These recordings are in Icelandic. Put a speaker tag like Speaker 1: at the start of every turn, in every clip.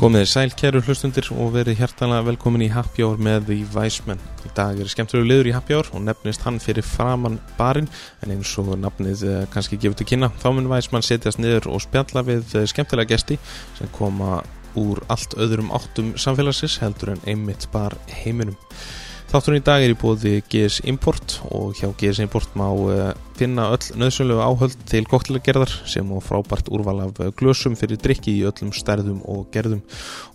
Speaker 1: Komið þið sæl, kæru hlustundir og verið hjertanlega velkomin í Happy Hour með The Weisman. Í dag er skemmtilegu liður í Happy Hour og nefnist hann fyrir framann barinn en eins og nafnið eh, kannski gefur til kynna. Þá mun Weisman setjast niður og spjalla við eh, skemmtilega gesti sem koma úr allt öðrum áttum samfélagsins heldur en einmitt bar heiminum. Þátturinn í dag er í bóði GS Import og hjá GS Import má eh, finna öll nöðsynlegu áhöld til koktelgerðar sem og frábært úrval af eh, glösum fyrir drikki í öllum stærðum og gerðum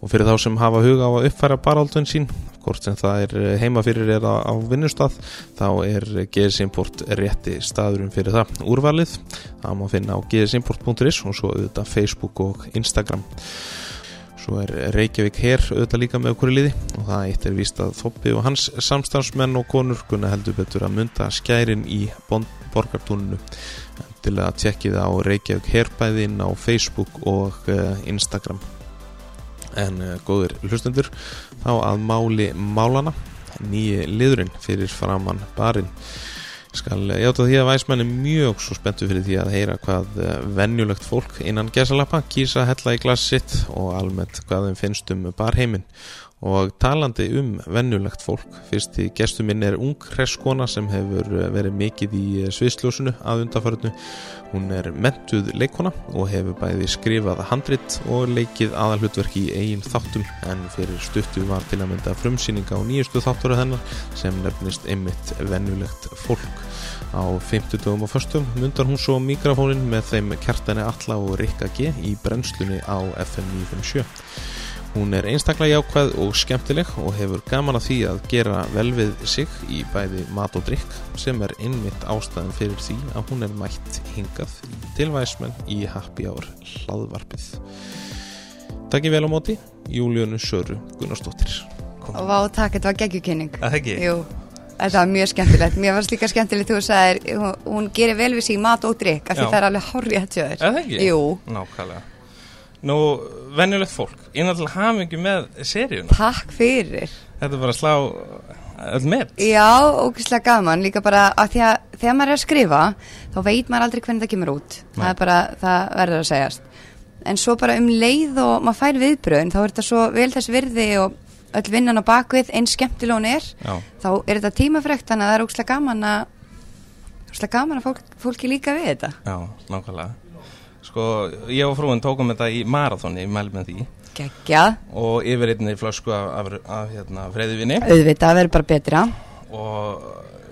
Speaker 1: og fyrir þá sem hafa huga á að uppfæra baraldun sín hvort sem það er eh, heima fyrir eða á vinnustad þá er eh, GS Import rétti staðurinn fyrir það úrvalið, það má finna á gsimport.is og svo auðvitað Facebook og Instagram Svo er Reykjavík her auðvitað líka með okkur í liði og það eitt er víst að Þoppi og hans samstansmenn og konur kunna heldur betur að mynda skærin í bond, borgartúninu til að tjekki það á Reykjavík herbæðin á Facebook og eh, Instagram. En uh, góðir hlustendur þá að máli málana nýji liðurinn fyrir framann barinn skal eh, játa því að væsmenn er mjög svo spenntu fyrir því að heyra hvað eh, venjulegt fólk innan gesalappa kýsa hella í glas sitt og almennt hvað þeim finnst um barheimin og talandi um venjulegt fólk fyrst í gestur minn er ung hresskona sem hefur eh, verið mikið í sviðsljósinu að undarförnu hún er mentuð leikona og hefur bæði skrifað handrit og leikið aðalhutverk í eigin þáttum en fyrir stuttu var til að mynda frumsýninga á nýjustu þáttur af hennar sem nefnist einmitt venjulegt fólk á 50 dögum og föstum myndar hún svo mikrofónin með þeim kjartani Alla og Rikka G í brennslunni á FM 957 Hún er einstaklega jákvæð og skemmtileg og hefur gaman að því að gera vel við sig í bæði mat og drikk sem er einmitt ástæðan fyrir því að hún er mætt hingað tilvæsmenn í Happy Hour hlaðvarpið. Takk ég vel á móti, Júlíunu Söru Gunnarsdóttir.
Speaker 2: Og Vá, takk, þetta var geggjukynning.
Speaker 3: Að það ekki?
Speaker 2: Jú, þetta var mjög skemmtilegt. Mér varst líka skemmtilegt, þú sagðir, hún, hún gerir vel við sig mat og drikk, af því
Speaker 3: Já.
Speaker 2: það er alveg hárrið að tjóður.
Speaker 3: Er það ekki?
Speaker 2: Jú,
Speaker 3: Nákvæmlega. Nú, venjulegt fólk, innantil hamingi með seríuna.
Speaker 2: takk fyrir.
Speaker 3: Þetta er bara að slá öll með.
Speaker 2: Já, ógislega gaman, líka bara að því að þegar maður er að skrifa, þá veit maður aldrei hvernig það kemur út. Það
Speaker 3: Nei.
Speaker 2: er bara, það verður að segjast. En svo bara um leið og maður fær viðbröðin, þá er þetta svo vel þess virði og öll vinnan á bakvið, eins skemmtileg hún er,
Speaker 3: Já,
Speaker 2: þá er þetta tímafrekt, þannig að það er ógislega gaman að, ógislega gaman að fólk, fólki líka við þetta.
Speaker 3: já, nákvæmlega. Sko, ég og frúin tókum þetta í marathoni, ég mæl með því,
Speaker 2: Gekkjað,
Speaker 3: og yfir einni flösku af, af, af hérna, freyðivinni
Speaker 2: auðvitað, verður bara betra.
Speaker 3: og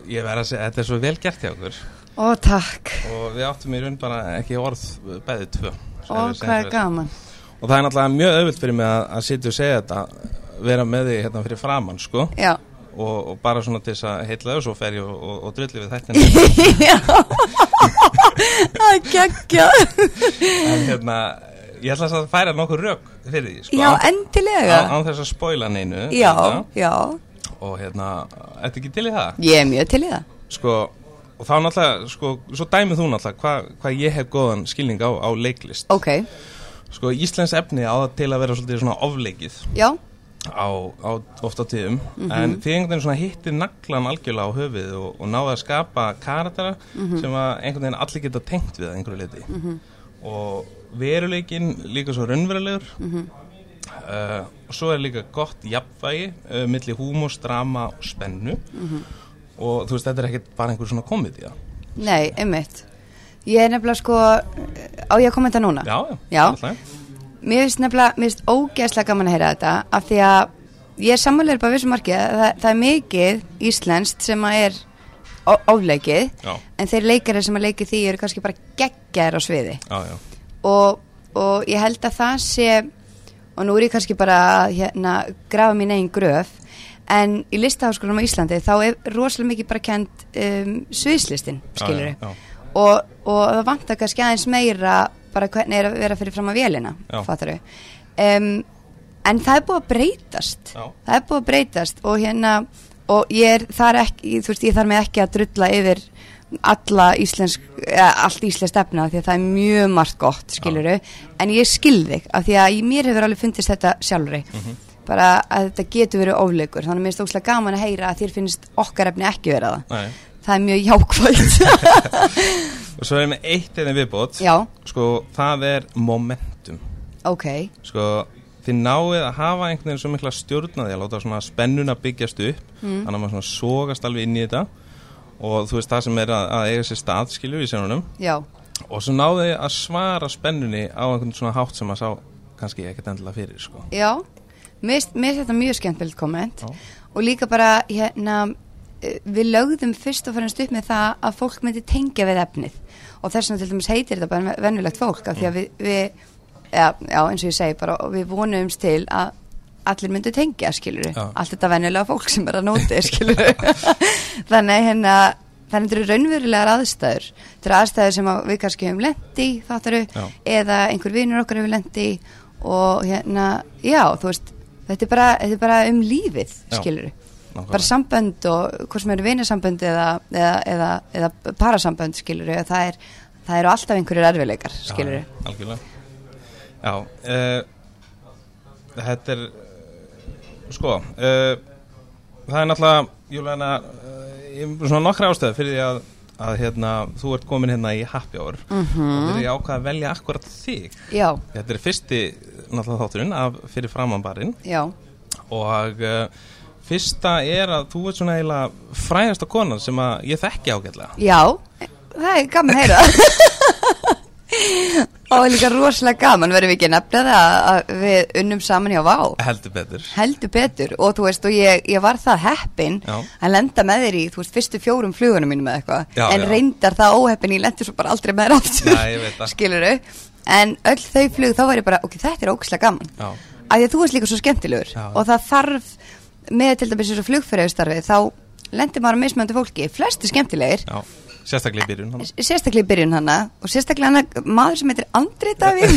Speaker 3: ég verð að segja, þetta er svo vel gert hjá okkur
Speaker 2: Ó, takk.
Speaker 3: og við áttum í raun bara ekki orð bæði tvö.
Speaker 2: Ó, hvað er gaman.
Speaker 3: Og það er náttúrulega mjög auðvilt fyrir mig að, að sitja og segja þetta, vera með því hérna fyrir framann, sko.
Speaker 2: Já,
Speaker 3: og, og bara svona til þess að heitla þau og svo fer ég og, og, og drulli við þættina
Speaker 2: það er geggjað.
Speaker 3: en hérna, ég ætla að færa nokkur rök fyrir því sko.
Speaker 2: Já,
Speaker 3: á,
Speaker 2: endilega.
Speaker 3: án þess að spoila neinu
Speaker 2: Já,
Speaker 3: hérna.
Speaker 2: já,
Speaker 3: og hérna, ertu ekki til í það
Speaker 2: ég er mjög til í það.
Speaker 3: sko, og þá náttúrulega, sko, svo dæmið þú náttúrulega hvað hva ég hef góðan skilning á, á leiklist
Speaker 2: Ok,
Speaker 3: sko, Íslands efni á það til að vera svolítið svona ofleikið
Speaker 2: já,
Speaker 3: á, á ofta tíðum en þið einhvern veginn svona hittir naglan algjörlega á höfuð og, og náðu að skapa karatera sem að einhvern veginn allir geta tengt við að einhverju liti og veruleikin líka svo raunverulegur uh, og svo er líka gott jafnvægi uh, milli húmus, drama og spennu og þú veist þetta er ekkert bara einhver svona komedía
Speaker 2: nei, einmitt. Ég er nefnilega sko, á ég að kommenta núna?
Speaker 3: já,
Speaker 2: Ah. Já.
Speaker 3: alltaf.
Speaker 2: Mér finnst nefnilega, mér finnst ógeðslega gaman að heyra þetta af því að ég er sammálega bara vissum markið að það, það er mikið íslenskt sem að er ó- ofleikið
Speaker 3: Já.
Speaker 2: en þeir leikari sem að leiki því eru kannski bara geggjaðir á sviði
Speaker 3: já, já,
Speaker 2: og, og ég held að það sé og nú er ég kannski bara að hérna, grafa mín einn gröf en í listaháskólanum á Íslandi þá er rosalega mikið bara kent um, sviðslistin,
Speaker 3: Já,
Speaker 2: skilur
Speaker 3: já, já.
Speaker 2: og, og það vantar kannski aðeins meira bara hvernig er að vera fyrir fram að vélina
Speaker 3: Já.
Speaker 2: fattar við um, en það er búið að breytast
Speaker 3: Já.
Speaker 2: það er búið að breytast og hérna og ég er þar ekki, þú veist, ég þarf mig ekki að drulla yfir alla íslensk eða allt íslensk efna af því að það er mjög margt gott, skiluru en ég skil þig, af því að í mér hefur alveg fundist þetta sjálfri bara að þetta getur verið ofleikur þannig að mér er stókslega gaman að heyra að þér finnst okkar efni ekki vera það
Speaker 3: Nei.
Speaker 2: það er mjög jákvæmt
Speaker 3: og svo erum við eitt eða viðbót
Speaker 2: Já.
Speaker 3: sko, það er momentum
Speaker 2: ok,
Speaker 3: sko, þið náið að hafa einhvern veginn svo mikla stjórnaði að láta svona spennuna byggjast upp þannig að maður svona sogast alveg inn í þetta og þú veist það sem er að, að eiga sér stað skilju í sjónunum
Speaker 2: já,
Speaker 3: og svo náðu þið að svara spennunni á einhvern svona hátt sem maður sá kannski ekkert endilega fyrir sko.
Speaker 2: já mér finnst- mér finnst þetta mjög skemmtilegt komment
Speaker 3: Já.
Speaker 2: og líka bara hérna eh, við lögðum fyrst og fremst upp með það að fólk myndi tengja við efnið og þess vegna til dæmis heitir þetta bara vennulegt fólk af því að við, við já, já, eins og ég segi bara, og við vonumst til að allir myndu tengja, skilur
Speaker 3: Já.
Speaker 2: allt þetta venjulega fólk sem er að nóti, skilur þannig að hérna þannig þetta eru raunverulegar aðstæður þetta eru aðstæður sem að við kannski hefum lendi þáttaru,
Speaker 3: Já.
Speaker 2: eða einhver vinur okkar hefur lendi og hérna já, þú veist, þetta er bara, þetta er bara um lífið,
Speaker 3: Já.
Speaker 2: skilur
Speaker 3: Nákvæmlega.
Speaker 2: bara sambönd og hvort sem eru vinasambönd eða, eða, eða, eða parasambönd skilur það, er, það eru alltaf einhverjir erfileikar skilur
Speaker 3: Já, já, algjörlega Já uh, Þetta er uh, sko uh, það er náttlega Júlana, uh, ég- svona nokkra ástöð fyrir því að, að hérna, þú ert komin hérna í happy hour og fyrir ég ákvað að velja akkurat þig
Speaker 2: já,
Speaker 3: Þetta er fyrsti náttúrulega þátturinn af fyrir framanbarinn
Speaker 2: já
Speaker 3: og uh, fyrsta er að þú ert svona eiginlega frægasta konan sem að ég þekki ágætlega
Speaker 2: Já, það er gaman að heyra Og líka rosalega gaman verðum við ekki að nefna það að við unnum saman hjá Vá
Speaker 3: heldur betur
Speaker 2: heldur betur og þú veist og ég, ég var það heppin
Speaker 3: Já.
Speaker 2: að lenda með þér í þú veist fyrstu fjórum flugunum mínum eða
Speaker 3: Já,
Speaker 2: eitthvað en
Speaker 3: já.
Speaker 2: reyndar það óheppin ég lendi svo bara aldrei með þér aftur
Speaker 3: Já, ég veit það.
Speaker 2: skilurðu en öll þau flug þá var ég bara ok þetta er ógislega gaman
Speaker 3: Já.
Speaker 2: að því að þú veist líka svo skemmtilegur
Speaker 3: Já.
Speaker 2: og það þarf með til dæmis þessu flugfyrirstarfi þá lendir maður á mismöndu fólki flesti skemmtilegir
Speaker 3: Já, sérstaklega í byrjun hann.
Speaker 2: sérstaklega í byrjun hana og sérstaklega hana maður sem heitir Andri Davíð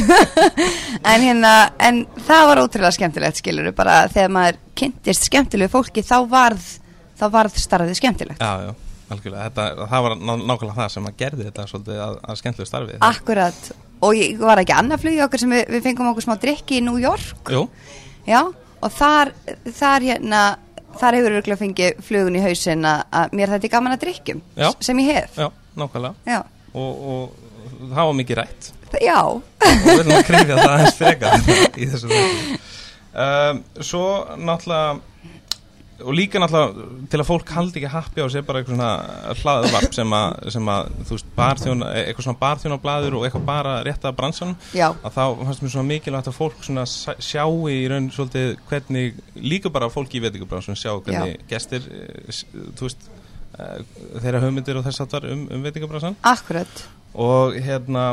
Speaker 2: en hérna, en það var ótrúlega skemmtilegt skilur bara þegar maður kynntist skemmtilegu fólki þá varð þá varð starfið skemmtilegt
Speaker 3: Já, já, algjörlega, þetta, það var ná, nákvæmlega það sem að gerði þetta svolítið að, að skemmtlu starfið
Speaker 2: akkurat og ég var ekki annað flug í okkur sem við, við fengum okkur smá drikki í New York
Speaker 3: Jú,
Speaker 2: já, og þar, þar hérna þar hefur örgulega fengið flugun í hausin að, að mér þetta er gaman að drikkjum
Speaker 3: Já.
Speaker 2: sem ég hef
Speaker 3: já, nákvæmlega
Speaker 2: já,
Speaker 3: og, og það var mikið rætt
Speaker 2: Þa- já.
Speaker 3: og við erum að krifja það aðeins frekar í þessu veitu um, Svo náttúrulega og líka náttúrulega til að fólk haldi ekki happy á sér bara eitthvað svona hlaðvarp sem að, sem að þú veist, barþjón, eitthvað svona barþjónablaður og eitthvað bara rétt að bransanum
Speaker 2: Já.
Speaker 3: að þá fannst mér svona mikilvægt að fólk svona sæ- sjái í raun svolítið hvernig líka bara fólk í veitingabransunum sjá hvernig gestir eh, s- þú veist eh, þeirra hugmyndir og þess aftar um, um veitingabransan
Speaker 2: akkurat
Speaker 3: og hérna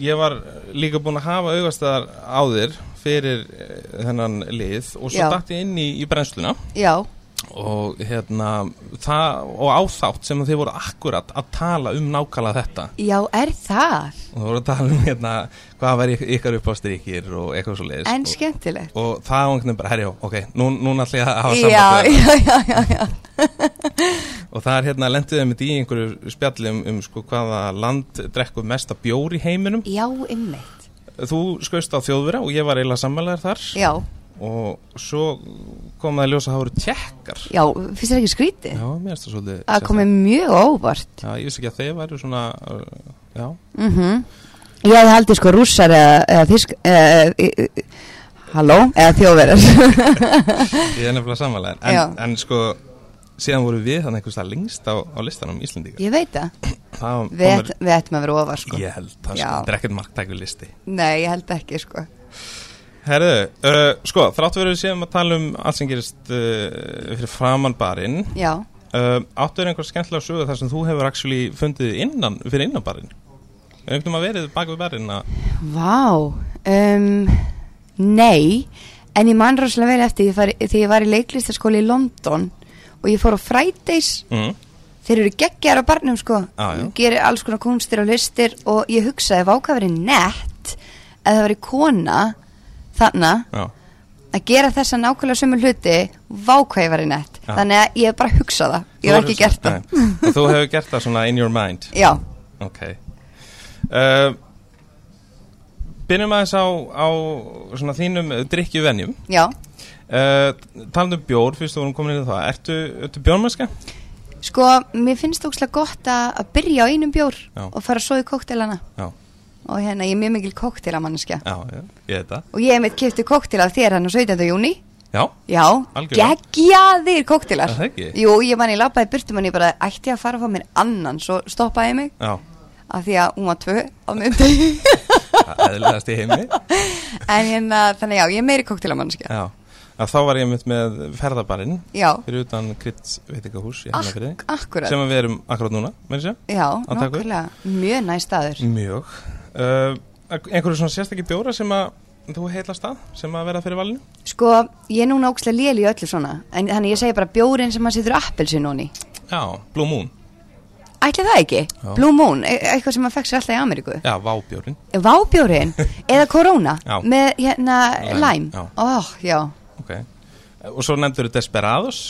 Speaker 3: ég var líka búinn að hafa augastæðar áður fyrir eh, þennan lið og svo
Speaker 2: Já.
Speaker 3: datt ég inn í, í brennsluna
Speaker 2: já,
Speaker 3: og hérna það, og áþátt sem þið voru akkurat að tala um nákvæmlega þetta
Speaker 2: já er það
Speaker 3: og þið voru að tala um hérna hvað væri yk- ykkar upp á strykir og eitthvað svo leiðis
Speaker 2: en
Speaker 3: og,
Speaker 2: skemmtilegt
Speaker 3: og það var einhvern veginn bara herjó, ok, nú, núna ætla ég að hafa
Speaker 2: já,
Speaker 3: samband við
Speaker 2: já, já, já, já.
Speaker 3: þetta. og það er hérna lenduðið mitt í einhverju spjalli um, um sko, hvaða land drekkur mesta bjór í heiminum
Speaker 2: já, ymmit
Speaker 3: þú skauðst á þjóðvera og ég var eiginlega sammálaður þar
Speaker 2: já,
Speaker 3: og svo kom það að ljósa að það voru tjekkar
Speaker 2: já, finnst þér ekki skrítið
Speaker 3: já, mér erst það svolítið
Speaker 2: að
Speaker 3: sérstakt.
Speaker 2: komið mjög óvart
Speaker 3: já, ég vissi ekki að þeir væri svona uh, já,
Speaker 2: mm ég hefði haldið sko rússar eða, eða þísk eða, eða, e- e- halló, eða þjóðverðar
Speaker 3: ég er nefnilega sammálaður
Speaker 2: Já.
Speaker 3: en, en sko, síðan voru við þannig einhvers það lengst á, á listanum Íslendinga
Speaker 2: ég veit það,
Speaker 3: það
Speaker 2: við, ætt, við ættum að vera óvart sko
Speaker 3: ég held, það
Speaker 2: Já.
Speaker 3: sko, það er ekkert marktæku listi
Speaker 2: nei, ég held ekki sko
Speaker 3: herðu, uh, sko, þrátt verður séum að tala um allt sem gerist uh, fyrir framan barinn
Speaker 2: já,
Speaker 3: uh, áttur einhver skemmtilega sögu þar sem þú hefur actually fundið innan, fyrir innan barinn er einhvern veginn að verið bak við barinn að
Speaker 2: vá um, nei en ég man rosalega vel eftir ég fari, þegar ég var í leiklistaskóli í London og ég fór á Fridays
Speaker 3: mm.
Speaker 2: Þeir eru geggjar á barnum sko
Speaker 3: Já, já.
Speaker 2: Gerir alls konar kunstir og listir Og ég hugsaði váka verið nett Að það verið kona Þannig
Speaker 3: já
Speaker 2: að gera þessa nákvæmlega sömu hluti Váka ég verið nett
Speaker 3: Já.
Speaker 2: Þannig að ég hef bara hugsað það Ég hef ekki gert það
Speaker 3: Nei, Þú hefur gert það svona in your mind
Speaker 2: Já,
Speaker 3: Ok uh, Byrjum aðeins á, á svona þínum drikkjuvenjum
Speaker 2: já
Speaker 3: uh, Talandi um bjór, fyrst þú vorum komin inn í það Ertu, ertu bjórmennska?
Speaker 2: Sko, mér finnst ókslega gott að, að byrja á einum bjór
Speaker 3: Já.
Speaker 2: Og fara svo í kóktelana
Speaker 3: Já
Speaker 2: og hérna ég er mjög mikil koktelamanniska
Speaker 3: Já, já, ég veit það
Speaker 2: og ég hef mitt kipti koktel af þér hann á 17. júni
Speaker 3: Já,
Speaker 2: Já,
Speaker 3: Algjörlega.
Speaker 2: geggjaðir koktelar
Speaker 3: Er það ekki?
Speaker 2: Jú, ég man ég labbaði burtum en ég bara ætti ég að fara að fá mér annan svo stoppaði ég mig
Speaker 3: já,
Speaker 2: af því að hún var tvö á miðumdegi
Speaker 3: það er leðast í heimi
Speaker 2: en hérna, þannig já, ég er meiri koktelamannskja
Speaker 3: Já, að þá var ég mitt með ferðabarinn
Speaker 2: Já,
Speaker 3: fyrir utan Krids veitingahús í
Speaker 2: ak
Speaker 3: Hafnarfirði
Speaker 2: akkurat
Speaker 3: sem að við erum akkurat núna, með þessu
Speaker 2: Já,
Speaker 3: Á taku.
Speaker 2: nokkulega, mjög næst staður
Speaker 3: Mjög uh, Einhverju svona sérstakki bjóra sem að þú heilast að sem að vera fyrir valinu?
Speaker 2: Sko, ég er núna ókslega léli í öllu svona en þannig ég segi bara bjórin sem maður setur appelsin honi
Speaker 3: Já, Blue Moon
Speaker 2: Ætli það ekki?
Speaker 3: Já.
Speaker 2: Blue Moon, e eitthvað sem maður fekk sér alltaf í Ameríku
Speaker 3: Já, Vábjórin
Speaker 2: Vábjórin, eða Corona
Speaker 3: Já.
Speaker 2: með hérna
Speaker 3: Lime,
Speaker 2: Lime
Speaker 3: já.
Speaker 2: Ó, já
Speaker 3: okay. Eh, Og svo nefndur Desperados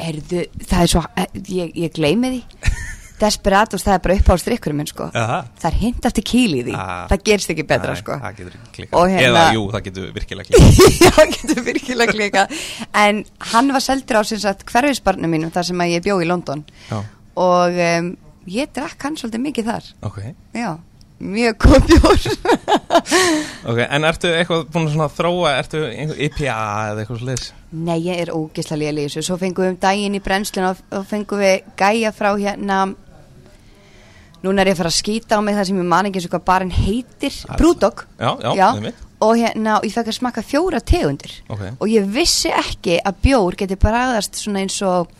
Speaker 2: Erðu, það er svo, eh, ég, ég gleymi því Desperados, það er bara upp á strikkurum minn sko
Speaker 3: Aha.
Speaker 2: Það er hint eftir kýl í því
Speaker 3: Ah.
Speaker 2: Það gerst ekki betra
Speaker 3: Nei,
Speaker 2: sko
Speaker 3: Það getur ekki
Speaker 2: Og
Speaker 3: klikað
Speaker 2: hérna-
Speaker 3: Eða, jú, það getur virkilega klikað
Speaker 2: Já, getur virkilega klikað En hann var seldur á sem sagt hverfisbarnu mínum Þar sem að ég bjó í London
Speaker 3: Já,
Speaker 2: Og um, ég drakk hann svolítið mikið þar
Speaker 3: ok
Speaker 2: Já, mjög góð bjór
Speaker 3: Ok, en ertu eitthvað búin að svona þróa, ertu einhver IPA eða eitthvað sliðis?
Speaker 2: Nei, ég er ógislega léleg í þessu. Svo fengum við um daginn í brennsluna og, og fengum við gæja frá hérna Núna er ég að fara að skýta á mig það sem ég man ekki eins og hvað barinn heitir
Speaker 3: Það-
Speaker 2: Brúdog
Speaker 3: Já, já, einmitt.
Speaker 2: Og hérna, og ég fekk að smakka fjóra tegundir
Speaker 3: Ok.
Speaker 2: Og ég vissi ekki að bjór geti bragðast svona eins og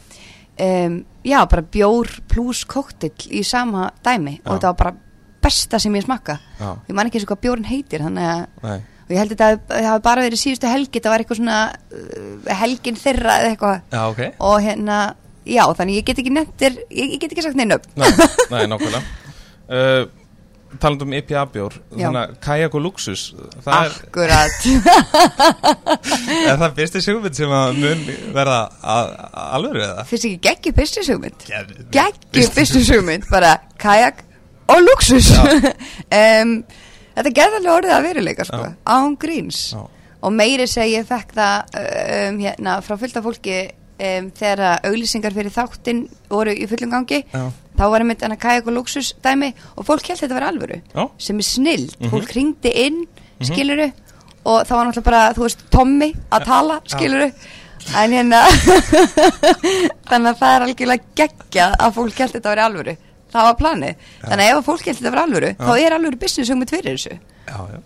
Speaker 2: um, Já, bara bjór plus koktill í sama dæmi
Speaker 3: Já.
Speaker 2: Og þetta var bara besta sem ég smakka
Speaker 3: Já.
Speaker 2: Ég man ekki eins og hvað bjórinn heitir, þannig að
Speaker 3: Nei
Speaker 2: og ég held að þetta hafi- hafi bara verið síðustu helgi þetta var eitthvað svona uh, helgin þeirra eða eitthvað
Speaker 3: Já, ok
Speaker 2: og hérna, já þannig ég get ekki nefntir ég, ég get ekki sagt neina upp
Speaker 3: Nei, nei nákvæmlega uh, Taland um IPA bjór
Speaker 2: Já.
Speaker 3: Þannig að kajak og luxus Það er,
Speaker 2: akkurat, Ah.
Speaker 3: er það fyrsti sjúkvinn sem að mun verða að- að- alvöru eða?
Speaker 2: finnst ekki geggi byrstu sugmynd
Speaker 3: Geð-
Speaker 2: geggi byrstu sugmynd bara kajak og luxus um, þetta gerði alveg orðið að veruleika sko,
Speaker 3: Já.
Speaker 2: án gríns
Speaker 3: Já.
Speaker 2: og meiri segi ég fekk það um, hérna, frá fylgta fólki um, þegar að auglýsingar fyrir þáttinn voru í fullum gangi
Speaker 3: Já.
Speaker 2: þá var einmitt hann að kajak og luxus dæmi og fólk held þetta var alvöru
Speaker 3: Já.
Speaker 2: sem er snill, fólk ringdi inn skiluru og það var náttúrulega bara þú veist Tommy að tala skiluru en hérna þannig að það er algjörlega geggjað að fólk held þetta var alvöru það var planið, þannig að ef að fólk held þetta var alvöru þá er alvöru business um fyrir þessu
Speaker 3: Já, já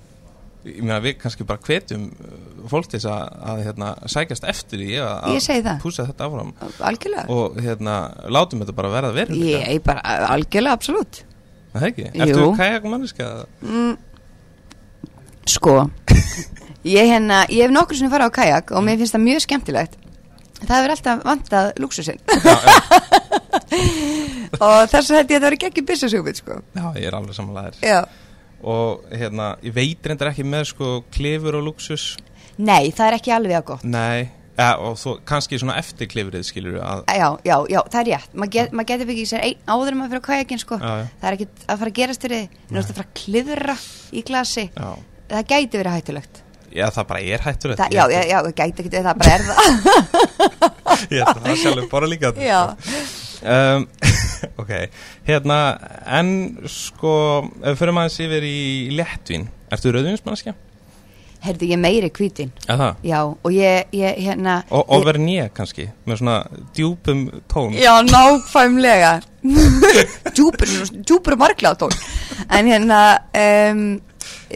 Speaker 3: Ég meina við kannski bara hvetjum uh, fólk til þess að, að hérna, sækjast eftir í að,
Speaker 2: Ég segi það.
Speaker 3: að púsa þetta áfram
Speaker 2: algjörlega
Speaker 3: og hérna, látum þetta bara verða veruleika
Speaker 2: Ég bara, algjörlega, absolutt
Speaker 3: Er Það ekki?
Speaker 2: Jú.
Speaker 3: Ertu kajak og manniska?
Speaker 2: Sko Ég, hérna, ég hef nokkur sinni farið á kajak og mér finnst það mjög skemmtilegt Það hefur alltaf vantað lúksusinn
Speaker 3: Já, já,
Speaker 2: og þess að held ég að það var ekki ekki business hugmynd sko.
Speaker 3: já, ég er alveg samanlegaður
Speaker 2: Já.
Speaker 3: og hérna, ég veit reyndar ekki með sko klifur og luxus
Speaker 2: Nei, það er ekki alveg að gott
Speaker 3: Nei, ja, og þú, kannski svona eftir klifrið skilur við að
Speaker 2: Já, já, já, það er rétt Maður get, mað getur ekki sér ein, áður en maður fyrir á kajakin sko.
Speaker 3: Já, já.
Speaker 2: Það er ekki að fara að gerast fyrir því Nú ertu að fara að klifra í glasi
Speaker 3: Já,
Speaker 2: Það gæti verið hættulegt
Speaker 3: já það bara er hættur
Speaker 2: það, Já, já, já, það gæti ekki, það bara er það
Speaker 3: Ég ætla það sjálfur bara líka að-
Speaker 2: Já,
Speaker 3: um, Ok, hérna, en sko, ef við fyrir maður yfir í léttvín Ertu rauðvinsmannskja?
Speaker 2: herðu ég meiri hvítin
Speaker 3: Já, það
Speaker 2: Já, og ég, ég hérna
Speaker 3: Og,
Speaker 2: ég-
Speaker 3: og verið nýja kannski, með svona djúpum tón
Speaker 2: Já, nákvæmlega Djúpur, djúpur marglaðatón En hérna um,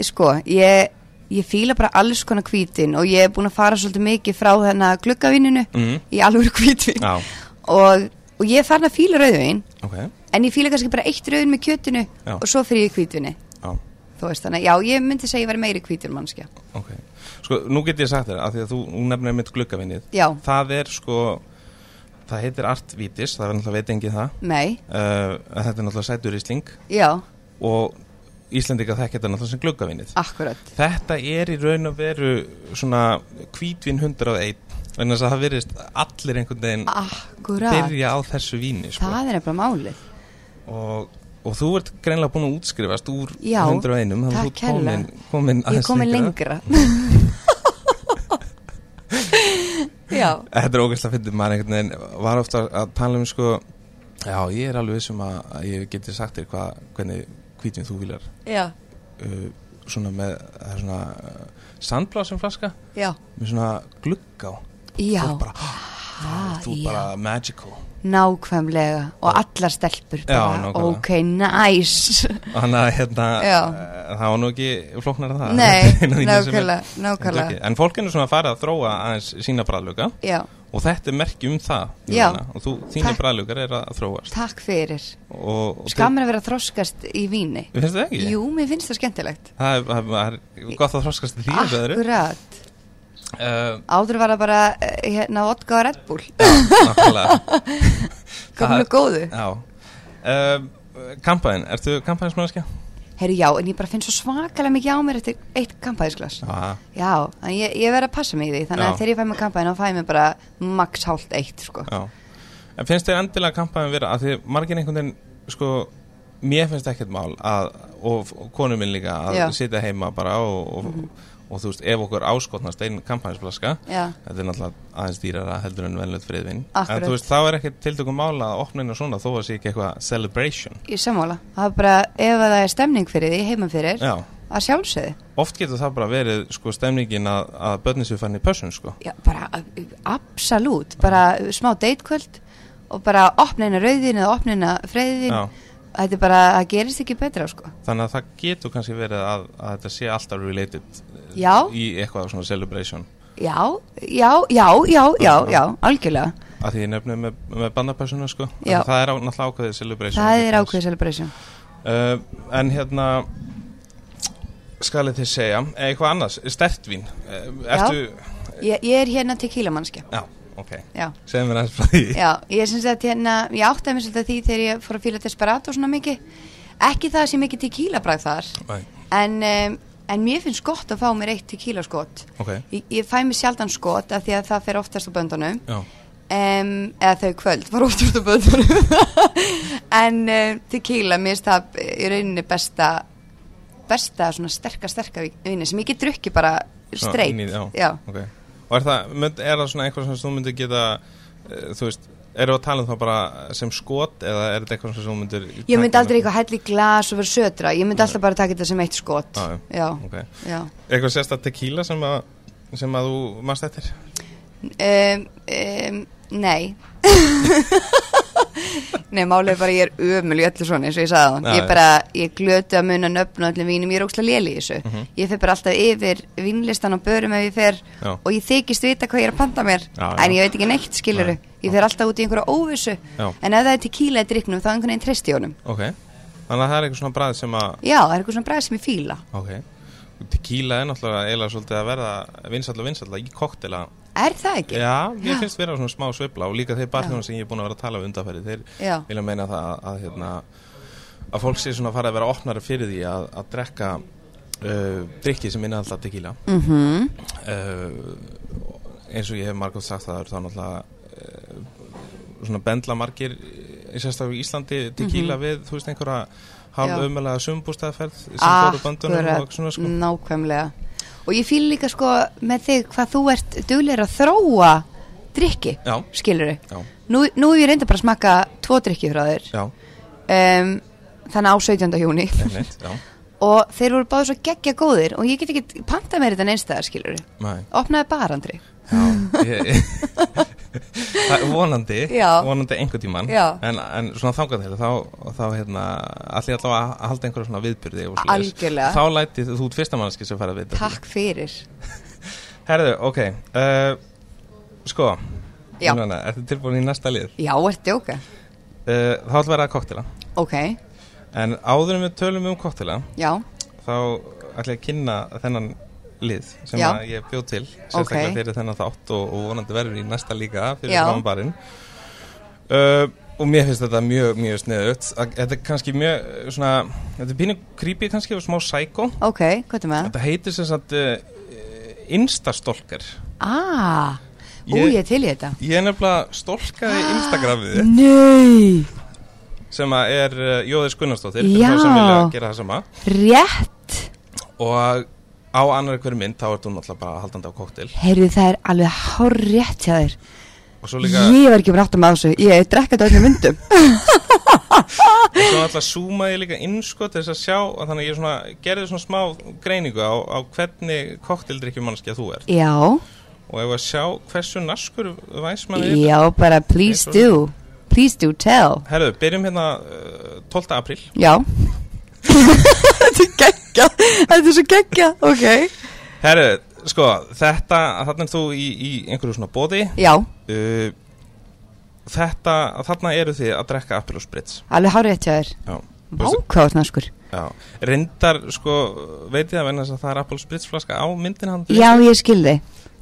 Speaker 2: Sko, ég Ég fíla bara alls konar hvítin Og ég er búin að fara svolítið mikið frá þennan gluggavininu
Speaker 3: Mhm.
Speaker 2: Í alvöru hvítvin
Speaker 3: Já.
Speaker 2: og, og ég er farin að fíla rauðvin
Speaker 3: Ok,
Speaker 2: En ég fíla kannski bara eitt rauðin með kjötinu
Speaker 3: Já.
Speaker 2: Og svo fyrir ég hvítvinni
Speaker 3: já,
Speaker 2: Þú veist þannig, já, ég myndi segja ég væri meiri hvítur mannskja
Speaker 3: ok Sko, nú get ég sagt þér, af því að þú þú nefnir mitt gluggavinnið
Speaker 2: Já,
Speaker 3: Það er sko, það heitir artvítis, það er náttúrulega veit engið það
Speaker 2: nei,
Speaker 3: uh, að þetta er náttúrulega sætur ísling
Speaker 2: já,
Speaker 3: og Íslendinga þekkja þetta náttúrulega sem gluggavinnið
Speaker 2: akkurat
Speaker 3: Þetta er í raun og veru svona hvítvin 101 vegna þess að það virðist allir einhvern veginn
Speaker 2: Akkurat,
Speaker 3: byrja á þessu víni sko.
Speaker 2: það er bara málið
Speaker 3: og, og þú ert greinlega búin að útskrifast úr
Speaker 2: Já,
Speaker 3: 101 þannig að
Speaker 2: takk
Speaker 3: þú ert komin, komin
Speaker 2: Ég er
Speaker 3: aðeins
Speaker 2: komin lengra Já,
Speaker 3: Þetta er ógæslega fyndið maður einhvern veginn var ofta að tala um sko um já ég er alveg vissum að að ég geti sagt þér hvað, hvernig hvítvin þú vilar
Speaker 2: já
Speaker 3: uh, svona með það er svona uh, sandblásum flaska
Speaker 2: já,
Speaker 3: með svona glugg á
Speaker 2: já,
Speaker 3: og bara, ah, þú
Speaker 2: já.
Speaker 3: bara magical
Speaker 2: nákvæmlega og allar stelpur
Speaker 3: Já,
Speaker 2: bara,
Speaker 3: nákvæmlega.
Speaker 2: ok, nice
Speaker 3: þannig að hérna
Speaker 2: Já.
Speaker 3: eh, það var nú ekki flóknar að það
Speaker 2: Nei,
Speaker 3: Eina línan sem er-
Speaker 2: nákvæmlega,
Speaker 3: þetta
Speaker 2: nákvæmlega
Speaker 3: ekki. en fólk er nú svona að fara að þróa aðeins sína bræðluga
Speaker 2: Já,
Speaker 3: og þetta er merki um það
Speaker 2: Já.
Speaker 3: Jóhanna, og þú, þínir
Speaker 2: Takk.
Speaker 3: bræðlugar er að þróast
Speaker 2: takk fyrir
Speaker 3: og, og
Speaker 2: Skammar að vera að þroskast í víni
Speaker 3: þú, finnst það ekki?
Speaker 2: Jú, mér finnst það skemmtilegt
Speaker 3: það er, það er, það er gott að þroskast í því en öðru.
Speaker 2: Akkurat
Speaker 3: Eh,
Speaker 2: Áður var það bara eh, hérna vodka og Red Bull
Speaker 3: já, nákvæmlega
Speaker 2: Komlu
Speaker 3: Það-
Speaker 2: góðu
Speaker 3: já um, kampaðin, ertu kampaðinsmannskja?
Speaker 2: Herri já, en ég bara finn svo svakalega mikið á mér eftir eitt kampaðisglas
Speaker 3: já,
Speaker 2: Já, en ég, ég verð að passa mig í því Þannig
Speaker 3: Já.
Speaker 2: að þegar ég fæ mér kampaðin þá fæ ég mér bara max hálft eitt sko.
Speaker 3: já en finnst þér endilega kampaðin vera að því margir einhvern veginn sko mér finnst ekkert mál að, og, og konum minn líka að
Speaker 2: Já. Mhm.
Speaker 3: sitja heima bara og, og, og, þú veist, ef okkur áskotnast einn kampaðinsflaska
Speaker 2: Já,
Speaker 3: þetta er náttúrulega aðeins dýrara heldur en velnöð friðvinn en
Speaker 2: Akkurat.
Speaker 3: þú veist, þá er ekkert tiltökum mál að opninu svona þó að sé ekki eitthvað celebration
Speaker 2: ég sammála Það er bara, ef að það er stemning fyrir því, heima fyrir
Speaker 3: já,
Speaker 2: Að sjálfsögðu
Speaker 3: oft getur það bara verið sko stemningin að, að börnin séu fann í pössun sko
Speaker 2: Já, bara uh, absolút, bara uh, smá deitkvöld og bara opna eina rauðin eða opna eina freyðin
Speaker 3: Já.
Speaker 2: þetta er bara, það gerist ekki betra sko.
Speaker 3: þannig að það getur kannski verið að, að þetta sé alltaf related eh,
Speaker 2: Já.
Speaker 3: í eitthvað svona celebration
Speaker 2: Já, já, já, já, já, já, algjörlega
Speaker 3: að því ég nefnum með, með bandapössuna sko
Speaker 2: Já.
Speaker 3: En það er á, náttúrulega ákveðið celebration
Speaker 2: það er ákveðið celebration
Speaker 3: uh, en hérna skal ég þið segja eh, eitthvað annars, stertvín uh, ertu,
Speaker 2: ég, ég er hérna tequila mannskja
Speaker 3: já, ok
Speaker 2: Já,
Speaker 3: segðu mér aðeins frá því
Speaker 2: já, ég syns að hérna, ég átti að mér svolítið að því þegar ég fór að fíla desperat og svona mikið ekki það sem mikið tequila bragð þar
Speaker 3: Nei,
Speaker 2: en, um, en mér finnst gott að fá mér eitt tequila skot
Speaker 3: ok,
Speaker 2: ég, ég fæ mér sjaldan skot af því að það fer oftast á böndunum
Speaker 3: já,
Speaker 2: um, eða þau kvöld var oft út á böðunum en um, tequila, mér finnst það í rauninni besta besta svona sterka, sterka vini sem ég get drukki bara
Speaker 3: Svona
Speaker 2: streit
Speaker 3: inn í- já.
Speaker 2: já.
Speaker 3: ok og er það, mynd, er það svona eitthvað sem þú myndir geta uh, þú veist, eru að tala um það bara sem skot eða er þetta eitthvað sem þú myndir
Speaker 2: ég myndi aldrei eitthvað hella í glas og vera södra ég myndi
Speaker 3: Nei.
Speaker 2: alltaf bara taka þetta sem eitt skot
Speaker 3: Já,
Speaker 2: já,
Speaker 3: okay.
Speaker 2: já
Speaker 3: eitthvað sérsta tequila sem að sem að þú mannst eftir
Speaker 2: um, um, nei nei, málið er bara ég er ömul í öllu svona eins og ég sagði hann
Speaker 3: Já,
Speaker 2: ég
Speaker 3: já.
Speaker 2: bara, ég glötu að muna nöfn og öllum vínum, ég er ókslega léli í þessu
Speaker 3: Mhm.
Speaker 2: ég fer bara alltaf yfir vínlistan og börum ef ég fer
Speaker 3: Já.
Speaker 2: og ég þykist vita hvað ég er að panta mér
Speaker 3: Já, já.
Speaker 2: en ég veit ekki neitt skiluru
Speaker 3: Nei.
Speaker 2: ég fer alltaf út í einhverja óvissu
Speaker 3: Já.
Speaker 2: en ef það er tequila í driknum þá einhvern veginn treysti ég honum
Speaker 3: ok, þannig að það er eitthvað svona bræð sem að
Speaker 2: já, það er eitthvað svona bræð sem ég fíla
Speaker 3: ok, tequila er náttúrulega eiginlega svolítið að verða vinsall og vinsall í koktela,
Speaker 2: er það ekki?
Speaker 3: já, ég
Speaker 2: Já.
Speaker 3: finnst vera svona smá sveifla og líka þeir barþjóðan sem ég er búin að vera að tala um undanferði, þeir
Speaker 2: Já.
Speaker 3: vilja meina það að, að hérna, að fólk sé svona að fara að vera opnari fyrir því að, að drekka uh, drikki sem minna alltaf tequila
Speaker 2: Mm
Speaker 3: uh, eins og ég hef margótt sagt það þá náttúrulega uh, svona bendla margir eh, sérstaklega í Íslandi tequila við þú veist einhverja
Speaker 2: Mhm. Já.
Speaker 3: halvömmulega sumbústaðferð sem fóru böndunum og svona
Speaker 2: Akkurat, Mm.
Speaker 3: sko
Speaker 2: nákvæmlega Og ég fýl líka sko með þig hvað þú ert duglegur að þróa drikki,
Speaker 3: Já.
Speaker 2: skilur
Speaker 3: já,
Speaker 2: Nú, nú hef ég reynda bara að smakka tvo drikki frá þér
Speaker 3: já,
Speaker 2: um, Þannig á 17. júni
Speaker 3: einmitt, já,
Speaker 2: Og þeir voru báðu svo geggja góðir Og ég get ekki pantað mér þetta neins það, skilur
Speaker 3: næ
Speaker 2: Opnaði bara, Andri
Speaker 3: já, ég, Það er vonandi,
Speaker 2: Já.
Speaker 3: vonandi einhvern tíman
Speaker 2: Já.
Speaker 3: en, en svona þangað til þá, þá hérna, allir allavega að halda einhverja svona viðbyrði og svoleiðis.
Speaker 2: Algjörlega.
Speaker 3: þá læti þú út fyrsta mannski sem fara að vita
Speaker 2: Takk fyrir
Speaker 3: Herðu, ok uh, Sko
Speaker 2: Já.
Speaker 3: Jónana, Ertu tilbúin í næsta lið?
Speaker 2: Já, ert djóka
Speaker 3: Uh, þá ætlum við að koktela
Speaker 2: Ok,
Speaker 3: En áður en við tölum um koktela
Speaker 2: já,
Speaker 3: Þá ætlum ég að kynna þennan lið Sem
Speaker 2: Já.
Speaker 3: að ég bjóð til Sérstaklega
Speaker 2: Ok.
Speaker 3: fyrir þennan þátt og, og vonandi verður í næsta líka Fyrir
Speaker 2: Já.
Speaker 3: frambarinn uh, Og mér finnst þetta mjög, mjög sniðut Þetta er kannski mjög eh, svona Þetta er pínu creepy kannski og smá psycho
Speaker 2: ok, hvað er með það?
Speaker 3: Þetta heitir sem sagt uh, Instastolkar
Speaker 2: Ah, ú,
Speaker 3: Ég-
Speaker 2: ég er til í þetta
Speaker 3: Ég er nefnilega stolkaði Instagramið þitt
Speaker 2: Nei,
Speaker 3: sem að er uh, Jóðis Gunnarsdóttir
Speaker 2: Já.
Speaker 3: fyrir þá sem vilja gera það sama
Speaker 2: rétt
Speaker 3: og á annar hverju mynd þá ert þú náttúrulega bara haldandi á kóktil
Speaker 2: Heyrðu, það er alveg hár rétt hjá þér.
Speaker 3: og svo líka,
Speaker 2: Ég var ekki bara átt að með þessu. Ég drekka þetta á öllum myndum.
Speaker 3: og svo alltaf zoomaði ég líka inn sko til þess að sjá að þannig að ég svona, gerði svona smá greiningu á, á hvernig koktildrykkjumannskja þú ert
Speaker 2: Já,
Speaker 3: og ef að sjá hversu naskur væsmann er
Speaker 2: já, bara please do Please do tell
Speaker 3: Herðu, byrjum hérna uh, 12. apríl
Speaker 2: Já Þetta er geggja Þetta er svo geggja, ok
Speaker 3: Herðu, sko, þetta, þarna er þú í, í einhverju svona bóði
Speaker 2: Já,
Speaker 3: uh, Þetta, þarna eru þið að drekka aprílsbrits
Speaker 2: alveg hárið þetta þér
Speaker 3: Já
Speaker 2: Vákáðna skur
Speaker 3: Já, reyndar, sko, veit ég það vegna þess að það er aprílsbritsflaska á myndin hann
Speaker 2: Já, ég skilði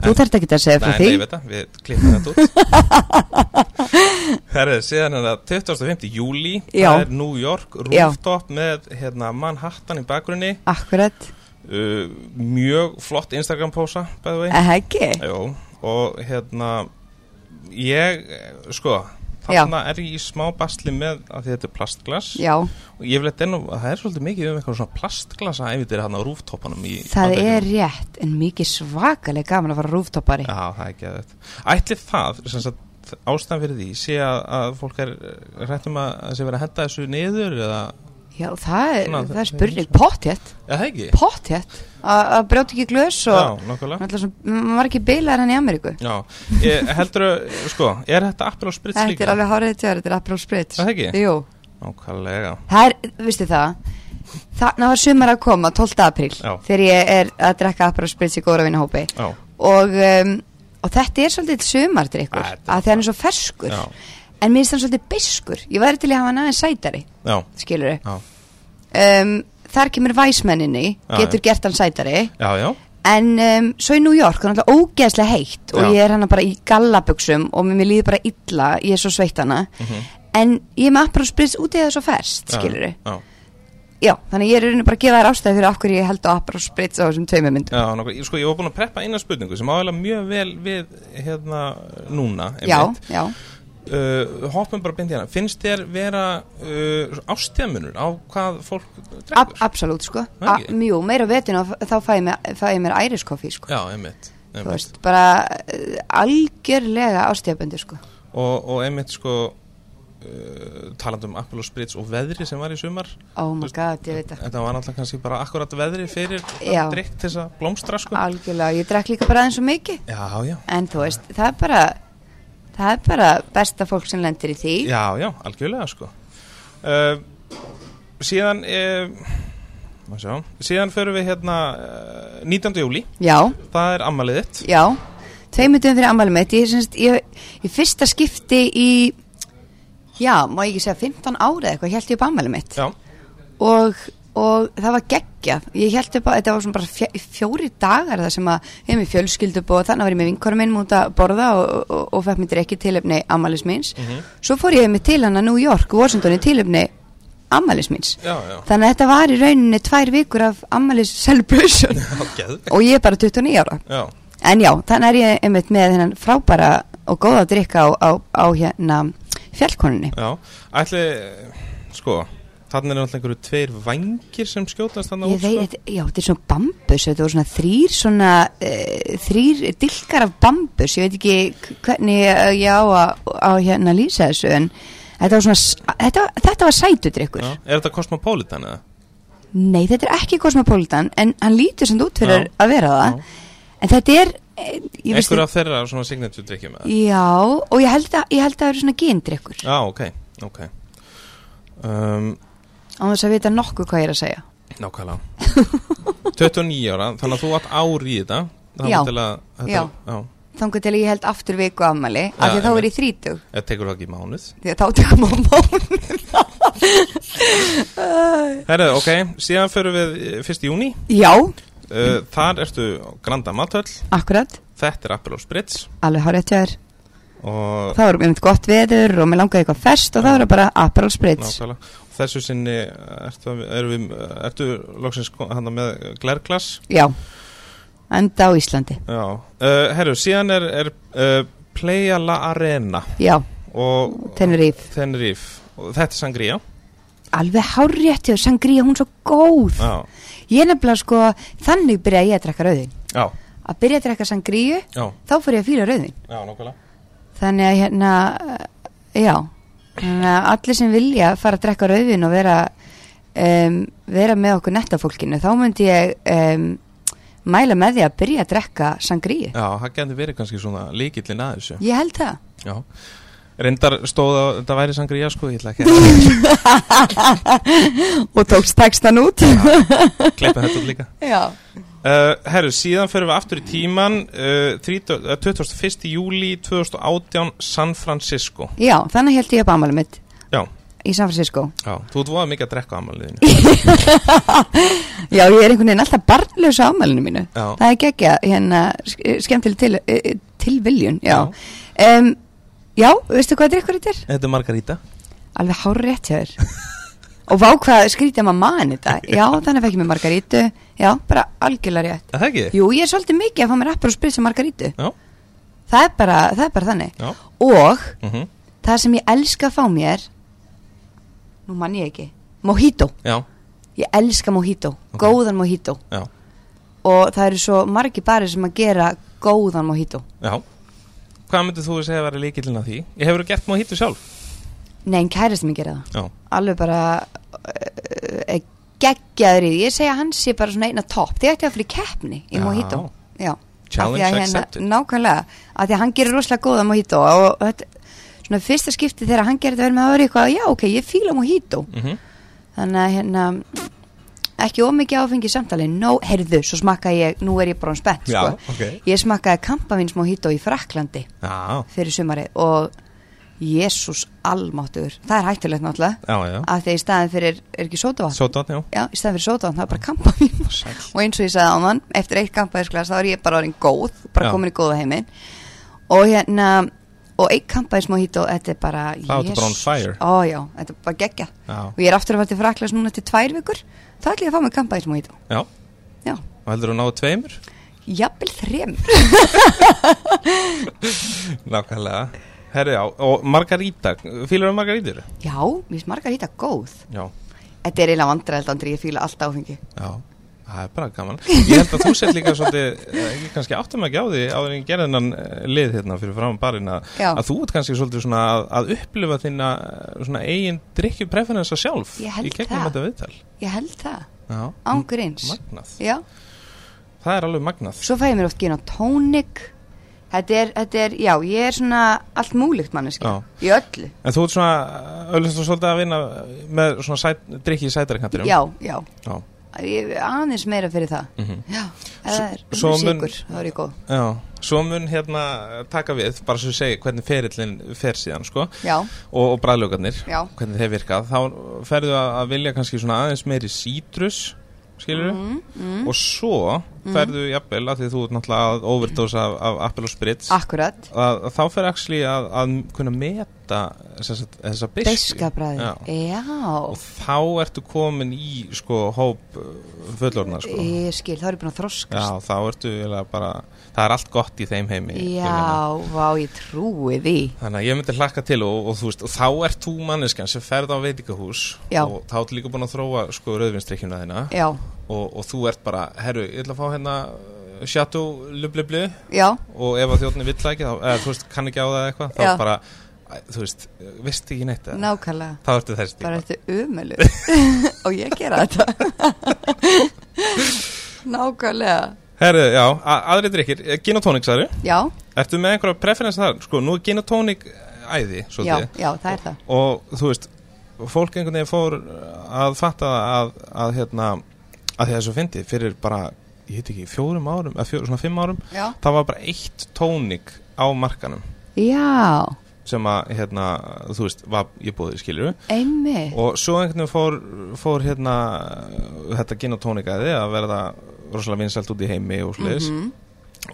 Speaker 2: Þú
Speaker 3: En-
Speaker 2: þarft ekki að segja
Speaker 3: Nei,
Speaker 2: frá
Speaker 3: nei, ég
Speaker 2: því
Speaker 3: veit það, við klippum þetta út Herðu, síðan er það 25. júli
Speaker 2: Já.
Speaker 3: Það er New York,
Speaker 2: Já.
Speaker 3: rooftop með hérna, Manhattan í bakgrunni
Speaker 2: Akkurat,
Speaker 3: uh, Mjög flott Instagram posa, by the way
Speaker 2: eða ekki
Speaker 3: Jó, og hérna ég, eh, sko
Speaker 2: Já.
Speaker 3: þarna er ég í smá basli með að því þetta er plastglas
Speaker 2: Já,
Speaker 3: og ég vil eitthvað að það er svolítið mikið um eitthvað svona plastglasa ef þetta er hann á rúftoppanum í
Speaker 2: það
Speaker 3: Bandaríkjunum.
Speaker 2: er rétt En mikið svakalega gaman að fara rúftoppari
Speaker 3: Já, það er ekki að þetta Ætli það, sem sagt, ástæðan fyrir því sé að, að fólk er hrættum að að sé verið að henda þessu niður eða,
Speaker 2: Já, það er,
Speaker 3: Svona,
Speaker 2: það er
Speaker 3: það-
Speaker 2: spurning Pottjett,
Speaker 3: eða það ekki
Speaker 2: pottjett Að að brjóta ekki glös og
Speaker 3: Já, nokkulega
Speaker 2: Náttúrulega svona, maður var ekki beilaðar enn í Ameríku
Speaker 3: Já, ég, heldur að, sko, er þetta appil á sprits
Speaker 2: Þetta
Speaker 3: líka?
Speaker 2: er alveg hárið þetta þér, þetta er April Spritz
Speaker 3: Það ekki?
Speaker 2: Jú,
Speaker 3: Nákvæmlega,
Speaker 2: það er, viðstu það Þannig var sumar að koma, 12. apríl
Speaker 3: Já.
Speaker 2: Þegar ég er að drekka April Spritz í góra vinna hópi
Speaker 3: já,
Speaker 2: og, um, og þetta er svolítið sumardrykkur
Speaker 3: Æ,
Speaker 2: Að
Speaker 3: þetta er
Speaker 2: því hann er svo ferskur
Speaker 3: Já.
Speaker 2: En mér finnst hann svolítið beiskur Ég væri til í að hafa hann aðeins sætari,
Speaker 3: já,
Speaker 2: skilur
Speaker 3: já,
Speaker 2: um, Þar kemur væsmenninni,
Speaker 3: Já,
Speaker 2: getur gert hann sætari
Speaker 3: já, já.
Speaker 2: En um, svo í New York, hann er alltaf ógeðslega heitt og
Speaker 3: Já.
Speaker 2: ég er hana bara í gallabuxum og mér mér líður bara illa, ég er svo sveitt hana. En ég er með Aperol Spritz út í það svo ferst,
Speaker 3: Mhm. Já,
Speaker 2: skilur
Speaker 3: Já,
Speaker 2: Já, þannig ég er í rauninni bara að gefa þær ástæði fyrir af hverju ég held á Aperol Spritz á þessum tveimur myndum.
Speaker 3: já nokkuð, sko, ég var búin að preppa eina spurningu sem áhægla mjög vel við hérna núna
Speaker 2: Já,
Speaker 3: einmitt.
Speaker 2: já.
Speaker 3: uh, Hoppum bara beint í hérna Finnst þér vera uh, ástíðamunur á hvað fólk
Speaker 2: Ab
Speaker 3: drekkur?
Speaker 2: absolutt, sko.
Speaker 3: Það
Speaker 2: A-
Speaker 3: ekki?
Speaker 2: Jú, meira á vetin og þá fæ ég, mér, fæ ég mér æriskoffi, sko.
Speaker 3: Já, einmitt,
Speaker 2: Þú
Speaker 3: einmitt.
Speaker 2: veist, bara eh, algjörlega ástjafbundir, sko.
Speaker 3: Og, og einmitt sko uh, talandi um Apple og Spritz og veðri sem var í sumar
Speaker 2: Oh my god, ég veit það.
Speaker 3: Þetta var náttúrulega kannski bara akkurat veðri fyrir
Speaker 2: Já.
Speaker 3: drikk til þess að blómstra sko
Speaker 2: Algjörlega, ég drekk líka bara aðeins og mikið.
Speaker 3: Já, já,
Speaker 2: En þú veist, það er bara það er bara besta fólk sem lendir í því
Speaker 3: Já, já, algjörlega sko uh, Síðan uh, má sjá, Síðan förum við hérna uh, 19. júli,
Speaker 2: Já,
Speaker 3: það er ammælið þitt
Speaker 2: já Tveimundum fyrir ammælum mitt Ég syns, ég, ég fyrsta skipti í Já, má ég ekki segja 15 ára eða eitthvað, ég held ég upp ammælum mitt
Speaker 3: Já,
Speaker 2: og, og það var geggjað Ég held upp að þetta var svona bara fjö, fjóri dagar það sem að ég er með fjölskyldubóð þannig var ég með vinkorum minn múta að borða og, og, og, og fekk mér ekki tilöfni ammælis míns Svo fór ég með til hana New York, Washington í tilöfni ammælis míns
Speaker 3: já, já
Speaker 2: Þannig að þetta var í rauninni tvær vikur af ammælis celebration
Speaker 3: Geðvegt.
Speaker 2: og ég er bara 29 ára.
Speaker 3: Já,
Speaker 2: En já, þannig er ég einmitt með hennan frábæra og góða að drikka á, á, á hérna fjallkonunni.
Speaker 3: já Ætli, eh, sko Þannig er náttúrulega einhverju tveir vængir sem skjótast sko. þannig
Speaker 2: Ég veit, já, þetta er svona bambus, þetta voru svona þrýr svona, uh, þrýr dilkar af bambus, ég veit ekki k- hvernig eh, ég á að á hérna að lýsa þessu, en þetta var svona, s- þetta, var- þetta var sætudrykkur.
Speaker 3: Já. Er þetta kosmopolitan eða?
Speaker 2: Nei, þetta er ekki Cosmopolitan, en hann lítur sem þú út fyrir
Speaker 3: Já.
Speaker 2: að vera það, en þetta er, eh, ég veist
Speaker 3: Einhverju af þeirra svona signature drikkjum eða?
Speaker 2: Já, og ég held að, ég held að það eru svona gindrykkur
Speaker 3: Já, ok, ok um,
Speaker 2: á þess að vita nokkuð hvað ég er að segja
Speaker 3: Nákvæmlega 29 ára, þannig að þú átt ár í þetta þangað
Speaker 2: Já.
Speaker 3: til að, þetta,
Speaker 2: Já.
Speaker 3: já
Speaker 2: Þangu til að ég held aftur viku afmæli af því
Speaker 3: Já,
Speaker 2: að þá er
Speaker 3: einmitt.
Speaker 2: ég þrítug
Speaker 3: Eða tekur það ekki mánuð
Speaker 2: því að þá tekum á mánu
Speaker 3: Herðu, ok, síðan förum við eh, fyrst í júni
Speaker 2: Já,
Speaker 3: uh, Þar ertu á Granda Matöll
Speaker 2: akkurat,
Speaker 3: Þetta er Aperol Spritz
Speaker 2: alveg hárið tjóður
Speaker 3: Og
Speaker 2: Það voru einmitt gott veður og mér langaði eitthvað fest og það voru bara Aperol Spritz
Speaker 3: nákvæmlega Og Þessu sinni eh, ertu, að- erum við, eh, ertu loksins hann með glerglas
Speaker 2: Já, enda á Íslandi
Speaker 3: Já uh, Herru, síðan er, er uh, Playa La Arena
Speaker 2: Já,
Speaker 3: Og
Speaker 2: Tenerife,
Speaker 3: Tenerife Og þetta er Sangria
Speaker 2: alveg hárið tjóður, Sangria, hún er svo góð
Speaker 3: Já,
Speaker 2: Ég er nefnilega sko, þannig byrjaði ég að drekka rauðin
Speaker 3: já,
Speaker 2: Að byrja að drekka Sangríu,
Speaker 3: já,
Speaker 2: þá fór ég að fýra rauðin
Speaker 3: já, nákvæmlega
Speaker 2: Þannig að hérna, eh, já, Þannig að allir sem vilja fara að drekka rauðin og vera, um, vera með okkur nettafólkinu, þá myndi ég um, mæla með því að byrja að drekka sangríu.
Speaker 3: Já, það getur verið kannski svona líkillin að þessu.
Speaker 2: Ég held það.
Speaker 3: Já. Reyndar stóð að þetta væri sangri já sko, ég ætla ekki að
Speaker 2: Og tókst textan út.
Speaker 3: kleppa þetta út líka.
Speaker 2: Já.
Speaker 3: Uh, herru, síðan fyrir við aftur í tíman, uh, 30, uh, 21. júli 2018, San Francisco.
Speaker 2: Já, þannig held ég upp ámælum mitt
Speaker 3: Já,
Speaker 2: í San Francisco.
Speaker 3: já, þú ert voða mikið að drekka á ammaliðinu.
Speaker 2: Já, ég er einhvern veginn alltaf barnlaus á ámælinu mínu.
Speaker 3: Já.
Speaker 2: Það er geggja, hérna, sk- skemmtileg til, eh, tilviljun, já. Já. já, veistu hvað drikkur þetta er?
Speaker 3: Þetta er Margarita.
Speaker 2: Alveg hár rétt hjá þér Og vá hvað skrítið maður mann þetta Já, þannig fekk ég mér margarítu Já, bara algjörlega rétt
Speaker 3: Er það ekki?
Speaker 2: Jú, ég er svolítið mikið að fá mér appar og spilsa margarítu
Speaker 3: Já,
Speaker 2: það er, bara, það er bara þannig
Speaker 3: já.
Speaker 2: Og
Speaker 3: Mm
Speaker 2: það sem ég elska að fá mér Nú mann ég ekki Mojito,
Speaker 3: Já,
Speaker 2: ég elska mojito
Speaker 3: Ok.
Speaker 2: Góðan mojito
Speaker 3: já,
Speaker 2: Og það eru svo margi barir sem að gera góðan mojito
Speaker 3: já. Hvað myndir þú segja að vera líkillin að því? Ég hefur gert maður hittu sjálf.
Speaker 2: Nei, en kærist mér gera það
Speaker 3: Já,
Speaker 2: Alveg bara uh, geggjaður í því Ég segja að hann sé bara svona einna topp Þið ætti að fyrir keppni í
Speaker 3: Já.
Speaker 2: mojito Já,
Speaker 3: Challenge
Speaker 2: Af því að hérna-
Speaker 3: accepted.
Speaker 2: Nákvæmlega, af því að hann gerir rosalega góða mojito og þetta, svona fyrsta skipti þegar hann gerir þetta verið með að vera eitthvað já ok, ég fíla mojito
Speaker 3: mm
Speaker 2: þannig að hérna ekki ómikið áfengi í samtali, no, heyrðu svo smakka ég, nú er ég bara um spennt
Speaker 3: já,
Speaker 2: sko.
Speaker 3: ok.
Speaker 2: ég smakkaði kampavins mojito í Fraklandi
Speaker 3: Já,
Speaker 2: fyrir sumari og Jésús almáttur, það er hættulegt náttúrulega
Speaker 3: já, já.
Speaker 2: af því að í staðin fyrir, er ekki sótavatn?
Speaker 3: Sjóttan, já.
Speaker 2: já, í staðin fyrir sótavatn, það er bara kampavín
Speaker 3: Sæll.
Speaker 2: og eins og ég sagði á mann, eftir eitt kampavínsglas þá er ég bara orðin góð, bara
Speaker 3: Já.
Speaker 2: komin í góða heiminn og hérna og eitt kampavínsmojito, þetta er bara
Speaker 3: Þá ertu bara on
Speaker 2: Jesus.
Speaker 3: fire.
Speaker 2: ó já, þetta er bara geggja
Speaker 3: Já,
Speaker 2: og ég er aftur að fara til Fraklas núna til tvær vikur þá ætlum ég að fá mig kampavínsmojito
Speaker 3: já.
Speaker 2: já,
Speaker 3: Og heldur þú að náðu tveimur?
Speaker 2: jafnvel þrem
Speaker 3: Nákvæmlega. Herri, já, og um Margarita, fýlar þú Margaritur?
Speaker 2: já, mér finnst margar hýta góð
Speaker 3: Já.
Speaker 2: þetta er eiginlega vandræðild, Andri, ég fíla allt áfengi
Speaker 3: Já. Það er bara gaman. Ég held að þú sett líka svolítið, eh, ég kannski áttum ekki á því áður en ég gerði hennan eh, lið hérna fyrir fram barinn að,
Speaker 2: Já.
Speaker 3: að þú ert kannski svolítið svona að, að upplifa þinna eh, svona eigin drikkjupreferensa sjálf
Speaker 2: Ég held
Speaker 3: í gegnum
Speaker 2: það.
Speaker 3: þetta viðtal.
Speaker 2: ég held það,
Speaker 3: Já.
Speaker 2: ángur eins
Speaker 3: Magnað.
Speaker 2: já
Speaker 3: Það er alveg magnað.
Speaker 2: Svo fæ ég mér oft gin og tónik Þetta er, þetta er, já, ég er svona allt múlíkt manneski
Speaker 3: Já.
Speaker 2: Í öllu
Speaker 3: En þú ert svona, eh, auðvitað svolítið að vinna með svona sæt, drikki í sætari kantinum.
Speaker 2: Já, já,
Speaker 3: Já.
Speaker 2: ég er aðeins meira fyrir það
Speaker 3: Mhm.
Speaker 2: Já, ef það er
Speaker 3: svo
Speaker 2: svo
Speaker 3: mun-
Speaker 2: sigur, það er ég góð
Speaker 3: Já, svo mun hérna taka við, bara svo ég segi hvernig ferillin fer síðan, sko,
Speaker 2: Já,
Speaker 3: og, og bræðlögarnir,
Speaker 2: Já.
Speaker 3: hvernig þeir virkað, þá ferðu að, að vilja kannski svona aðeins meiri sítrus, skilur
Speaker 2: Mhm,
Speaker 3: og svo ferðu jafnvel, að því þú ert náttúrulega að overdose af, af appel og sprits,
Speaker 2: Ah. akkurat
Speaker 3: að, að þá fer actually að, að kunna meta þessa, þessa beisku.
Speaker 2: Beskabræði,
Speaker 3: Já.
Speaker 2: já,
Speaker 3: Og þá ertu komin í, sko, hóp uh, fullorna, sko.
Speaker 2: Ég skil, þá er ég búin að þroskast
Speaker 3: Já, þá ertu eiginlega bara, það er allt gott í þeim heimi. ég meina.
Speaker 2: Já, vá, ég trúi því
Speaker 3: Þannig að ég myndi hlakka til og, og þú veist, og þá ert þú manneskjan sem ferð á veitingahús
Speaker 2: Já.
Speaker 3: og þá ertu líka búin að þróa sko rauðvinstrykkjuna þína
Speaker 2: Já,
Speaker 3: og, og þú ert bara, herru, ég ætla að fá hérna uh, Chateau lublublu
Speaker 2: já,
Speaker 3: og ef að þjóðni vill það ekki, þá, eða þú veist, kann ekki á það eitthvað, þá
Speaker 2: Já.
Speaker 3: bara, æ, þú veist, veist ekki neitt eða?
Speaker 2: nákvæmlega
Speaker 3: Þá ertu þessi
Speaker 2: Bara
Speaker 3: típa.
Speaker 2: ertu umölu Og ég gera þetta Nákvæmlega
Speaker 3: Herru, já, a- aðri drikkir, eh, gin og tónik, sagður,
Speaker 2: Já,
Speaker 3: ertu með einhverja preferens þar? Sko, nú er gin og tónik æði,
Speaker 2: já,
Speaker 3: svolítið.
Speaker 2: já, það er það
Speaker 3: og þú veist fólk einhvern veginn fór að fatta að, að hérna að þessu fyndi fyrir bara ég heit ekki, fjórum árum, eða fjórum, svona fimm árum
Speaker 2: Já,
Speaker 3: það var bara eitt tónik á markanum
Speaker 2: já
Speaker 3: sem að, hérna, þú veist var ég búið í skilju
Speaker 2: einmitt
Speaker 3: og svo einhvern veginn fór, fór hérna þetta gin og tónikaði að verða rosalega vinsælt út í heimi og sliðis
Speaker 2: Mhm.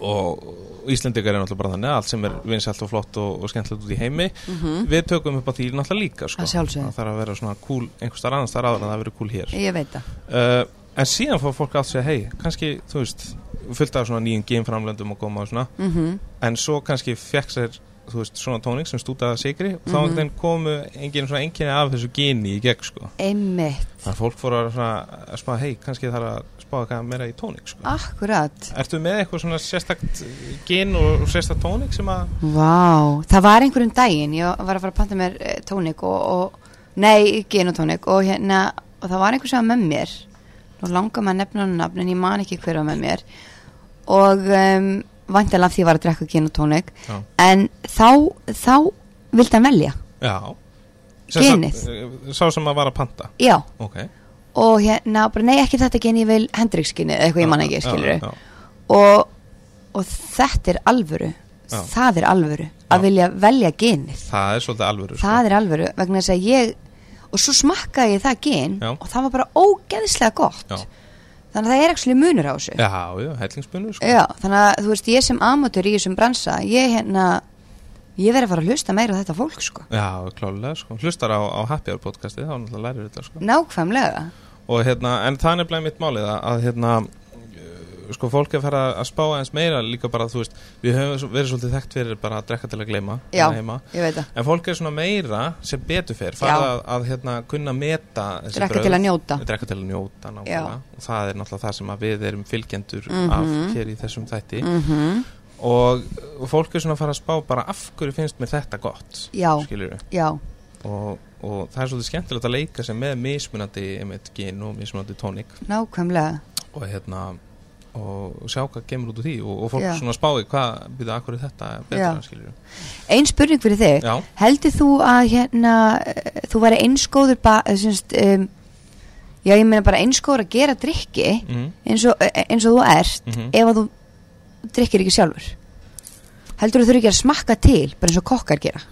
Speaker 3: og Íslendingar er náttúrulega bara þannig að allt sem er vinsælt og flott og, og skemmtilegt út í heimi
Speaker 2: Mhm.
Speaker 3: við tökum upp á því náttúrulega líka sko.
Speaker 2: Að sjálfsögðu.
Speaker 3: það þarf að vera svona cool einhvers þar annars þar áður en það verður cool hér
Speaker 2: Ég veit það
Speaker 3: uh, en síðan fór fólk að segja hei, kannski, þú veist fullt af svona nýjum gameframlöndum og góma og svona
Speaker 2: mm
Speaker 3: en svo kannski fekk sér þú veist, svona tóning sem stútaða sigri og þá
Speaker 2: Mhm.
Speaker 3: mm komu enginn svona enginni af þessu geni í gegn sko.
Speaker 2: einmitt,
Speaker 3: þannig að fólk fóru að, svona, að spá hei, kannski þarf að spá eitthvað meira í tóning sko.
Speaker 2: akkurat
Speaker 3: Ertu með eitthvað svona sérstakt gen og, og sérstakt tónik sem að
Speaker 2: Vá, það var einhverjum daginn, ég var að fara að panta mér eh, tónik og, og nei, genotónik og hérna, og það var einhver sem var með mér nú langar maður að nefna hann nafn en ég man ekki hver var með mér og um, vantilega af því ég var að drekka genotónik
Speaker 3: Já.
Speaker 2: en þá, þá vildi hann velja,
Speaker 3: Já
Speaker 2: Genið.
Speaker 3: Sérstakt, eh, Sá sem að var að panta
Speaker 2: já
Speaker 3: Ok
Speaker 2: og hérna, bara nei, ekki þetta gen, ég vil Hendriksskinni, eða eitthvað ég man ekki,
Speaker 3: Já,
Speaker 2: skilur
Speaker 3: já,
Speaker 2: og, og þetta er alvöru
Speaker 3: Já.
Speaker 2: það er alvöru
Speaker 3: Já.
Speaker 2: að vilja velja genið
Speaker 3: Það er svolítið alvöru sko.
Speaker 2: það er alvöru vegna þess að ég og svo smakkaði ég það gen
Speaker 3: Já.
Speaker 2: og það var bara ógeðslega gott
Speaker 3: Já.
Speaker 2: þannig að það er ekki slið munur á þessu
Speaker 3: Já, já, hellingsbunnu sko.
Speaker 2: Já, þannig að þú veist ég sem amatur í þessum bransa ég hérna ég verið að fara að hlusta meira á þetta fólk sko
Speaker 3: Já, klálega, sko. hlustar á, á Happy Hour podcastið, þá náttúrulega lærir þetta sko.
Speaker 2: nákvæmlega
Speaker 3: og hérna, en það er nefnilega mitt málið að, að hérna eh, sko, fólk er að fara að spá aðeins meira líka bara, þú veist, við höfum svo- verið svolítið þekkt fyrir bara að drekka til að gleyma
Speaker 2: Já,
Speaker 3: hérna heima.
Speaker 2: ég veit það
Speaker 3: En fólk er svona meira sem betur fyrr,
Speaker 2: Já.
Speaker 3: fara að, að hérna, kunna meta þessi
Speaker 2: Drekka
Speaker 3: brögð.
Speaker 2: til að njóta.
Speaker 3: Drekka til að njóta, nákvæmlega.
Speaker 2: Já. Mhm.
Speaker 3: Og það er náttúrulega það sem að við erum fylgjendur af hér í þessum þætti.
Speaker 2: mm
Speaker 3: Og, og fólk er svona að fara að spá bara af hverju finnst mér þetta gott,
Speaker 2: Já.
Speaker 3: skilur við.
Speaker 2: Já,
Speaker 3: Og, og það er svolítið skemmtilegt að leika sem með mismunandi einmitt, gin og mismunandi tónik
Speaker 2: nákvæmlega
Speaker 3: og hérna og sjá hvað gemur út úr því og, og fólk
Speaker 2: Já.
Speaker 3: svona spáði hvað byrja akkur þetta er betra,
Speaker 2: Já.
Speaker 3: skilur við.
Speaker 2: Ein spurning fyrir þig
Speaker 3: Já.
Speaker 2: Heldur þú að hérna eh, þú væri einskóður ba, eh, semst, um, já ég meina bara einskóður að gera drikki
Speaker 3: Mm.
Speaker 2: eins og, eh, eins og þú ert
Speaker 3: Mhm.
Speaker 2: ef að þú drikkir ekki sjálfur heldur þú þurfi ekki að smakka til bara eins og kokkar gera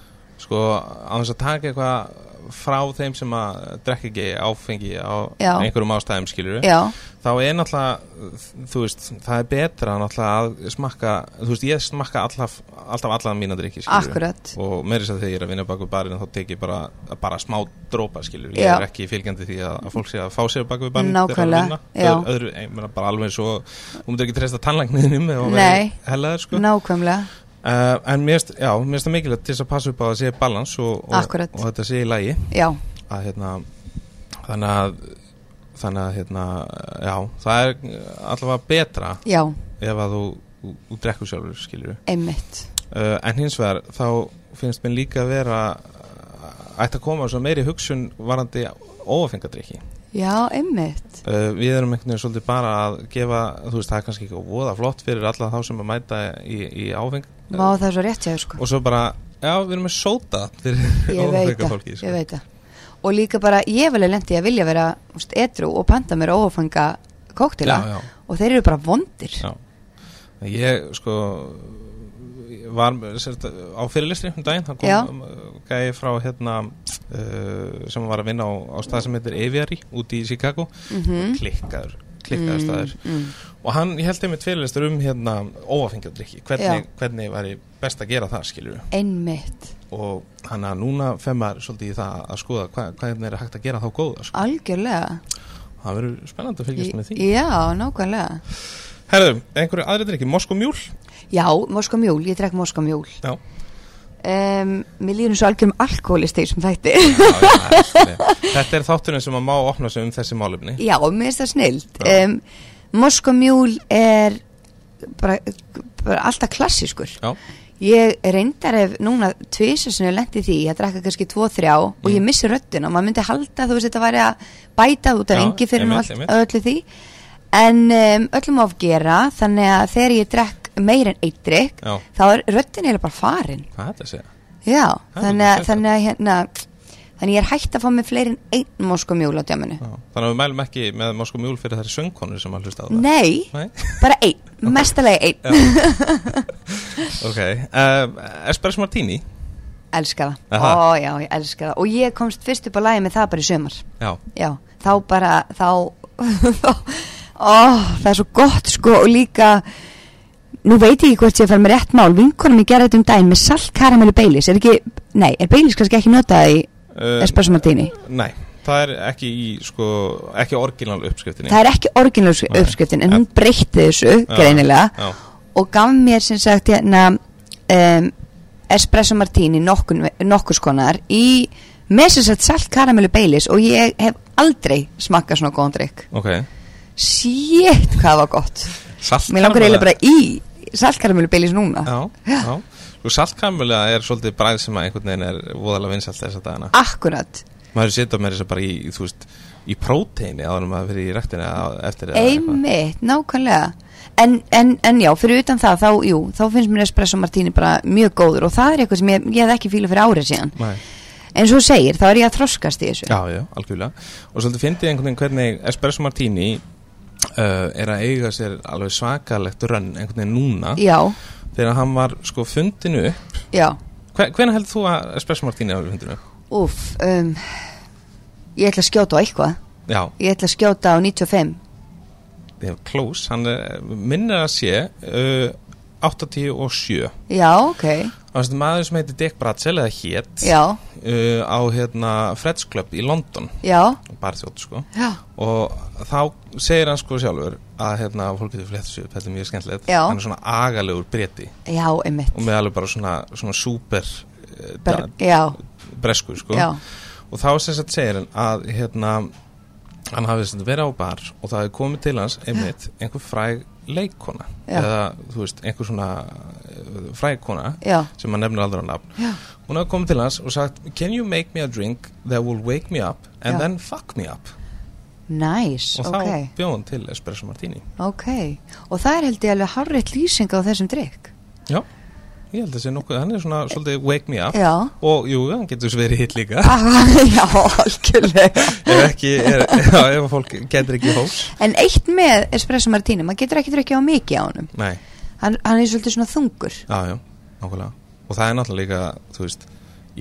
Speaker 3: sko, á þess að taka eitthvað frá þeim sem að drekka ekki áfengi á
Speaker 2: Já.
Speaker 3: einhverjum ástæðum skilur við,
Speaker 2: já,
Speaker 3: þá er náttúrulega þú veist, það er betra náttúrulega að smakka, þú veist, ég smakka alltaf, alltaf allan mína drikki skilur
Speaker 2: akkurat
Speaker 3: og meiri þess að þegar ég er að vinna bak við barinn þá tek ég bara, bara smá drópa skilur ég
Speaker 2: Já.
Speaker 3: er ekki fylgjandi því að, að fólk sé að fá sér bak við barinn
Speaker 2: Nákvæmlega, já.
Speaker 3: þegar öðru, ég meina bara alveg svo þú myndir ekki treysta tannlækninum eða hún
Speaker 2: Nei.
Speaker 3: verður hellaður sko
Speaker 2: nákvæmlega,
Speaker 3: Uh, en mér erst, já, mér erst það mikilvægt til þess að passa upp á að sé balans og, og,
Speaker 2: Akkurat.
Speaker 3: og þetta sé í lagi
Speaker 2: já,
Speaker 3: að hérna þannig að þannig að hérna, já, það er eh, allavega betra
Speaker 2: já,
Speaker 3: ef að þú, þú, þú drekkur sjálfur skilur uh,
Speaker 2: einmitt
Speaker 3: en hins vegar þá finnst mér líka að vera uh, ætti að koma svo meiri hugsun varandi óafengadrykki
Speaker 2: já, einmitt,
Speaker 3: Uh, við erum einhvern veginn svolítið bara að gefa, þú veist, það er kannski ekki voða flott fyrir alla þá sem að mæta í, í áfeng
Speaker 2: má það er svo rétt hjá þér, sko
Speaker 3: og svo bara, já, við erum með sóta fyrir
Speaker 2: ég veit
Speaker 3: ófengar
Speaker 2: það,
Speaker 3: fólki sko.
Speaker 2: ég veit það og líka bara, ég vel er lent í að vilja vera úst, etru og panta mér ófanga kóktila
Speaker 3: Já, já.
Speaker 2: og þeir eru bara vondir
Speaker 3: Já. ég, sko var sérst, á fyrirlistri um daginn, það
Speaker 2: Já.
Speaker 3: kom um, gæi frá hérna uh, sem var að vinna á, á stað sem heitir Aviary úti í Chicago
Speaker 2: Mhm.
Speaker 3: klikkaður, klikkaður staður
Speaker 2: mm,
Speaker 3: og hann, ég held einmitt fyrirlistur um hérna óafengjadrykki,
Speaker 2: Já.
Speaker 3: hvernig, hvernig væri best að gera það, skilur
Speaker 2: einmitt,
Speaker 3: og hann að núna femmar svolítið í það að skoða hvað, hvernig er hægt að gera þá góða, sko.
Speaker 2: algjörlega
Speaker 3: það verður spennandi að fylgjast með því
Speaker 2: já, nákvæmlega
Speaker 3: Herðu, einhverju aðri drikki, Moskomjúl
Speaker 2: Já, moskamjól, ég drekk moskamjól
Speaker 3: Já,
Speaker 2: um, Mér líður eins og algjörum alkoholist í þessum þætti
Speaker 3: já, já það er svolítið. Þetta er þátturinn sem að má opna sig um þessi málefni
Speaker 2: Já, mér finnst það snild
Speaker 3: Já.
Speaker 2: um, Moskamjól er bara, bara alltaf klassískur
Speaker 3: Já,
Speaker 2: Ég reyndar ef núna tvisa sem ég lendi því að drekka kannski tvo, þrjá og
Speaker 3: Mm.
Speaker 2: ég missi röddina og maður myndi halda þú veist þetta væri að bæta út af
Speaker 3: Já,
Speaker 2: engi fyrir
Speaker 3: einmitt,
Speaker 2: allt,
Speaker 3: einmitt.
Speaker 2: öllu því en um, öllum of gera þannig að þegar ég drekk meir en eitt drikk
Speaker 3: Já.
Speaker 2: þá er röddin eiginlega bara farin
Speaker 3: hvað er þetta að segja?
Speaker 2: Já,
Speaker 3: Það er
Speaker 2: þannig að,
Speaker 3: mjög
Speaker 2: þannig að hérna Þannig að ég er hægt að fá mig fleiri en einn moskumjól á djáminu
Speaker 3: Já. Þannig að við mælum ekki með Moskomjúl fyrir þær söngkonur sem að hlusta á það
Speaker 2: Nei,
Speaker 3: Nei?
Speaker 2: bara einn, mestalega einn
Speaker 3: Ok, um, Espresso Martini
Speaker 2: Elska það,
Speaker 3: Aha.
Speaker 2: ó já, ég elska það Og ég komst fyrst upp á lagi með það bara í sömar
Speaker 3: Já,
Speaker 2: Já, þá bara, þá Ó, það er svo gott sko Og líka, nú veit ég ekki hvort ég fær með rétt mál Vinkonum ég gerði þetta um daginn með salt karamellu beilis Er ekki, nei, er beilis kannski ekki notað í
Speaker 3: uh,
Speaker 2: espresso martini?
Speaker 3: Nei, það er ekki í, sko, ekki orginal uppskriftinni
Speaker 2: Það er ekki orginal
Speaker 3: Nei.
Speaker 2: uppskriftin en hún breytti þessu
Speaker 3: Já,
Speaker 2: greinilega
Speaker 3: Já,
Speaker 2: og gaf mér sem sagt hérna um, espresso martini nokkun, nokkus konar í mesisett salt karamellu beilis og ég hef aldrei smakkað svona góðan drikk
Speaker 3: Ok
Speaker 2: Sjétt hvað það var gott
Speaker 3: Saltkaramellu
Speaker 2: Mér langar eiginlega bara í salt karamellu beilis núna
Speaker 3: Já, já Sko saltkaramellu er svolítið bræð sem að einhvern veginn er voðalega vinsalt þess að dagana
Speaker 2: Akkurat,
Speaker 3: Maður setja með þess að bara í, þú veist, í próteini áður en maður fyrir í rektina á- eftir eða eitthvað.
Speaker 2: einmitt, nákvæmlega en, en, en já, fyrir utan það þá, jú, þá finnst mér espresso martini bara mjög góður og það er eitthvað sem ég, ég hef ekki fíla fyrir árið síðan
Speaker 3: Nei.
Speaker 2: En svo segir, þá er ég að þroskast í þessu
Speaker 3: Já, já, algjörlega Og svolítið fyndið einhvern veginn hvernig Espresso Martini uh, er að eiga sér alveg svakalegt rönn einhvern veginn núna
Speaker 2: já,
Speaker 3: þegar hann var sko fundinu upp
Speaker 2: já.
Speaker 3: Hver, Hvernig heldur þú að Espresso Martini hafi verið fundinu upp?
Speaker 2: Úf, um, ég ætla að skjóta á eitthvað
Speaker 3: Já,
Speaker 2: Ég ætla að skjóta á 95
Speaker 3: þið hefur close, hann er, minnir að sé uh, 87
Speaker 2: Já, ok,
Speaker 3: Það var svona maður sem heitir Dick Bradsell eða hét
Speaker 2: já,
Speaker 3: uh, á hérna Freds Club í London
Speaker 2: já,
Speaker 3: barþjótt sko
Speaker 2: já,
Speaker 3: og þá segir hann sko sjálfur að hérna fólk getur flett sér upp, þetta er mjög skemmtilegt
Speaker 2: Já.
Speaker 3: hann er svona agalegur breti
Speaker 2: já, einmitt
Speaker 3: og með alveg bara svona, svona super eh,
Speaker 2: Bara,
Speaker 3: da-
Speaker 2: já,
Speaker 3: bresku sko
Speaker 2: já,
Speaker 3: og þá sem sagt segir hann að hérna hann hafi sem sagt verið á bar og það hefði komið til hans einmitt einhver fræg leikona
Speaker 2: Já.
Speaker 3: eða þú veist einhver svona eh, fræg kona
Speaker 2: já,
Speaker 3: sem hann nefnir aldrei á nafn
Speaker 2: já,
Speaker 3: hún hafi komið til hans og sagt can you make me a drink that will wake me up and
Speaker 2: Já.
Speaker 3: then fuck me up
Speaker 2: næs, ok
Speaker 3: og þá bjóð hann til espresso martini
Speaker 2: Ok, og það er held ég alveg harrið lýsing á þessum drikk
Speaker 3: Já, ég held að sé nokkuð, hann er svona svolítið wake me up
Speaker 2: Eh, Já,
Speaker 3: og jú, hann getur sverið hitt líka
Speaker 2: ah, já, algjörlega
Speaker 3: ef ekki, er, já, ef fólk getur ekki hós
Speaker 2: En eitt með espresso martini, maður getur ekki drukkið á mikið á honum
Speaker 3: Nei,
Speaker 2: Hann, hann er svolítið svona þungur
Speaker 3: já, já, nákvæmlega og það er náttúrulega líka, þú veist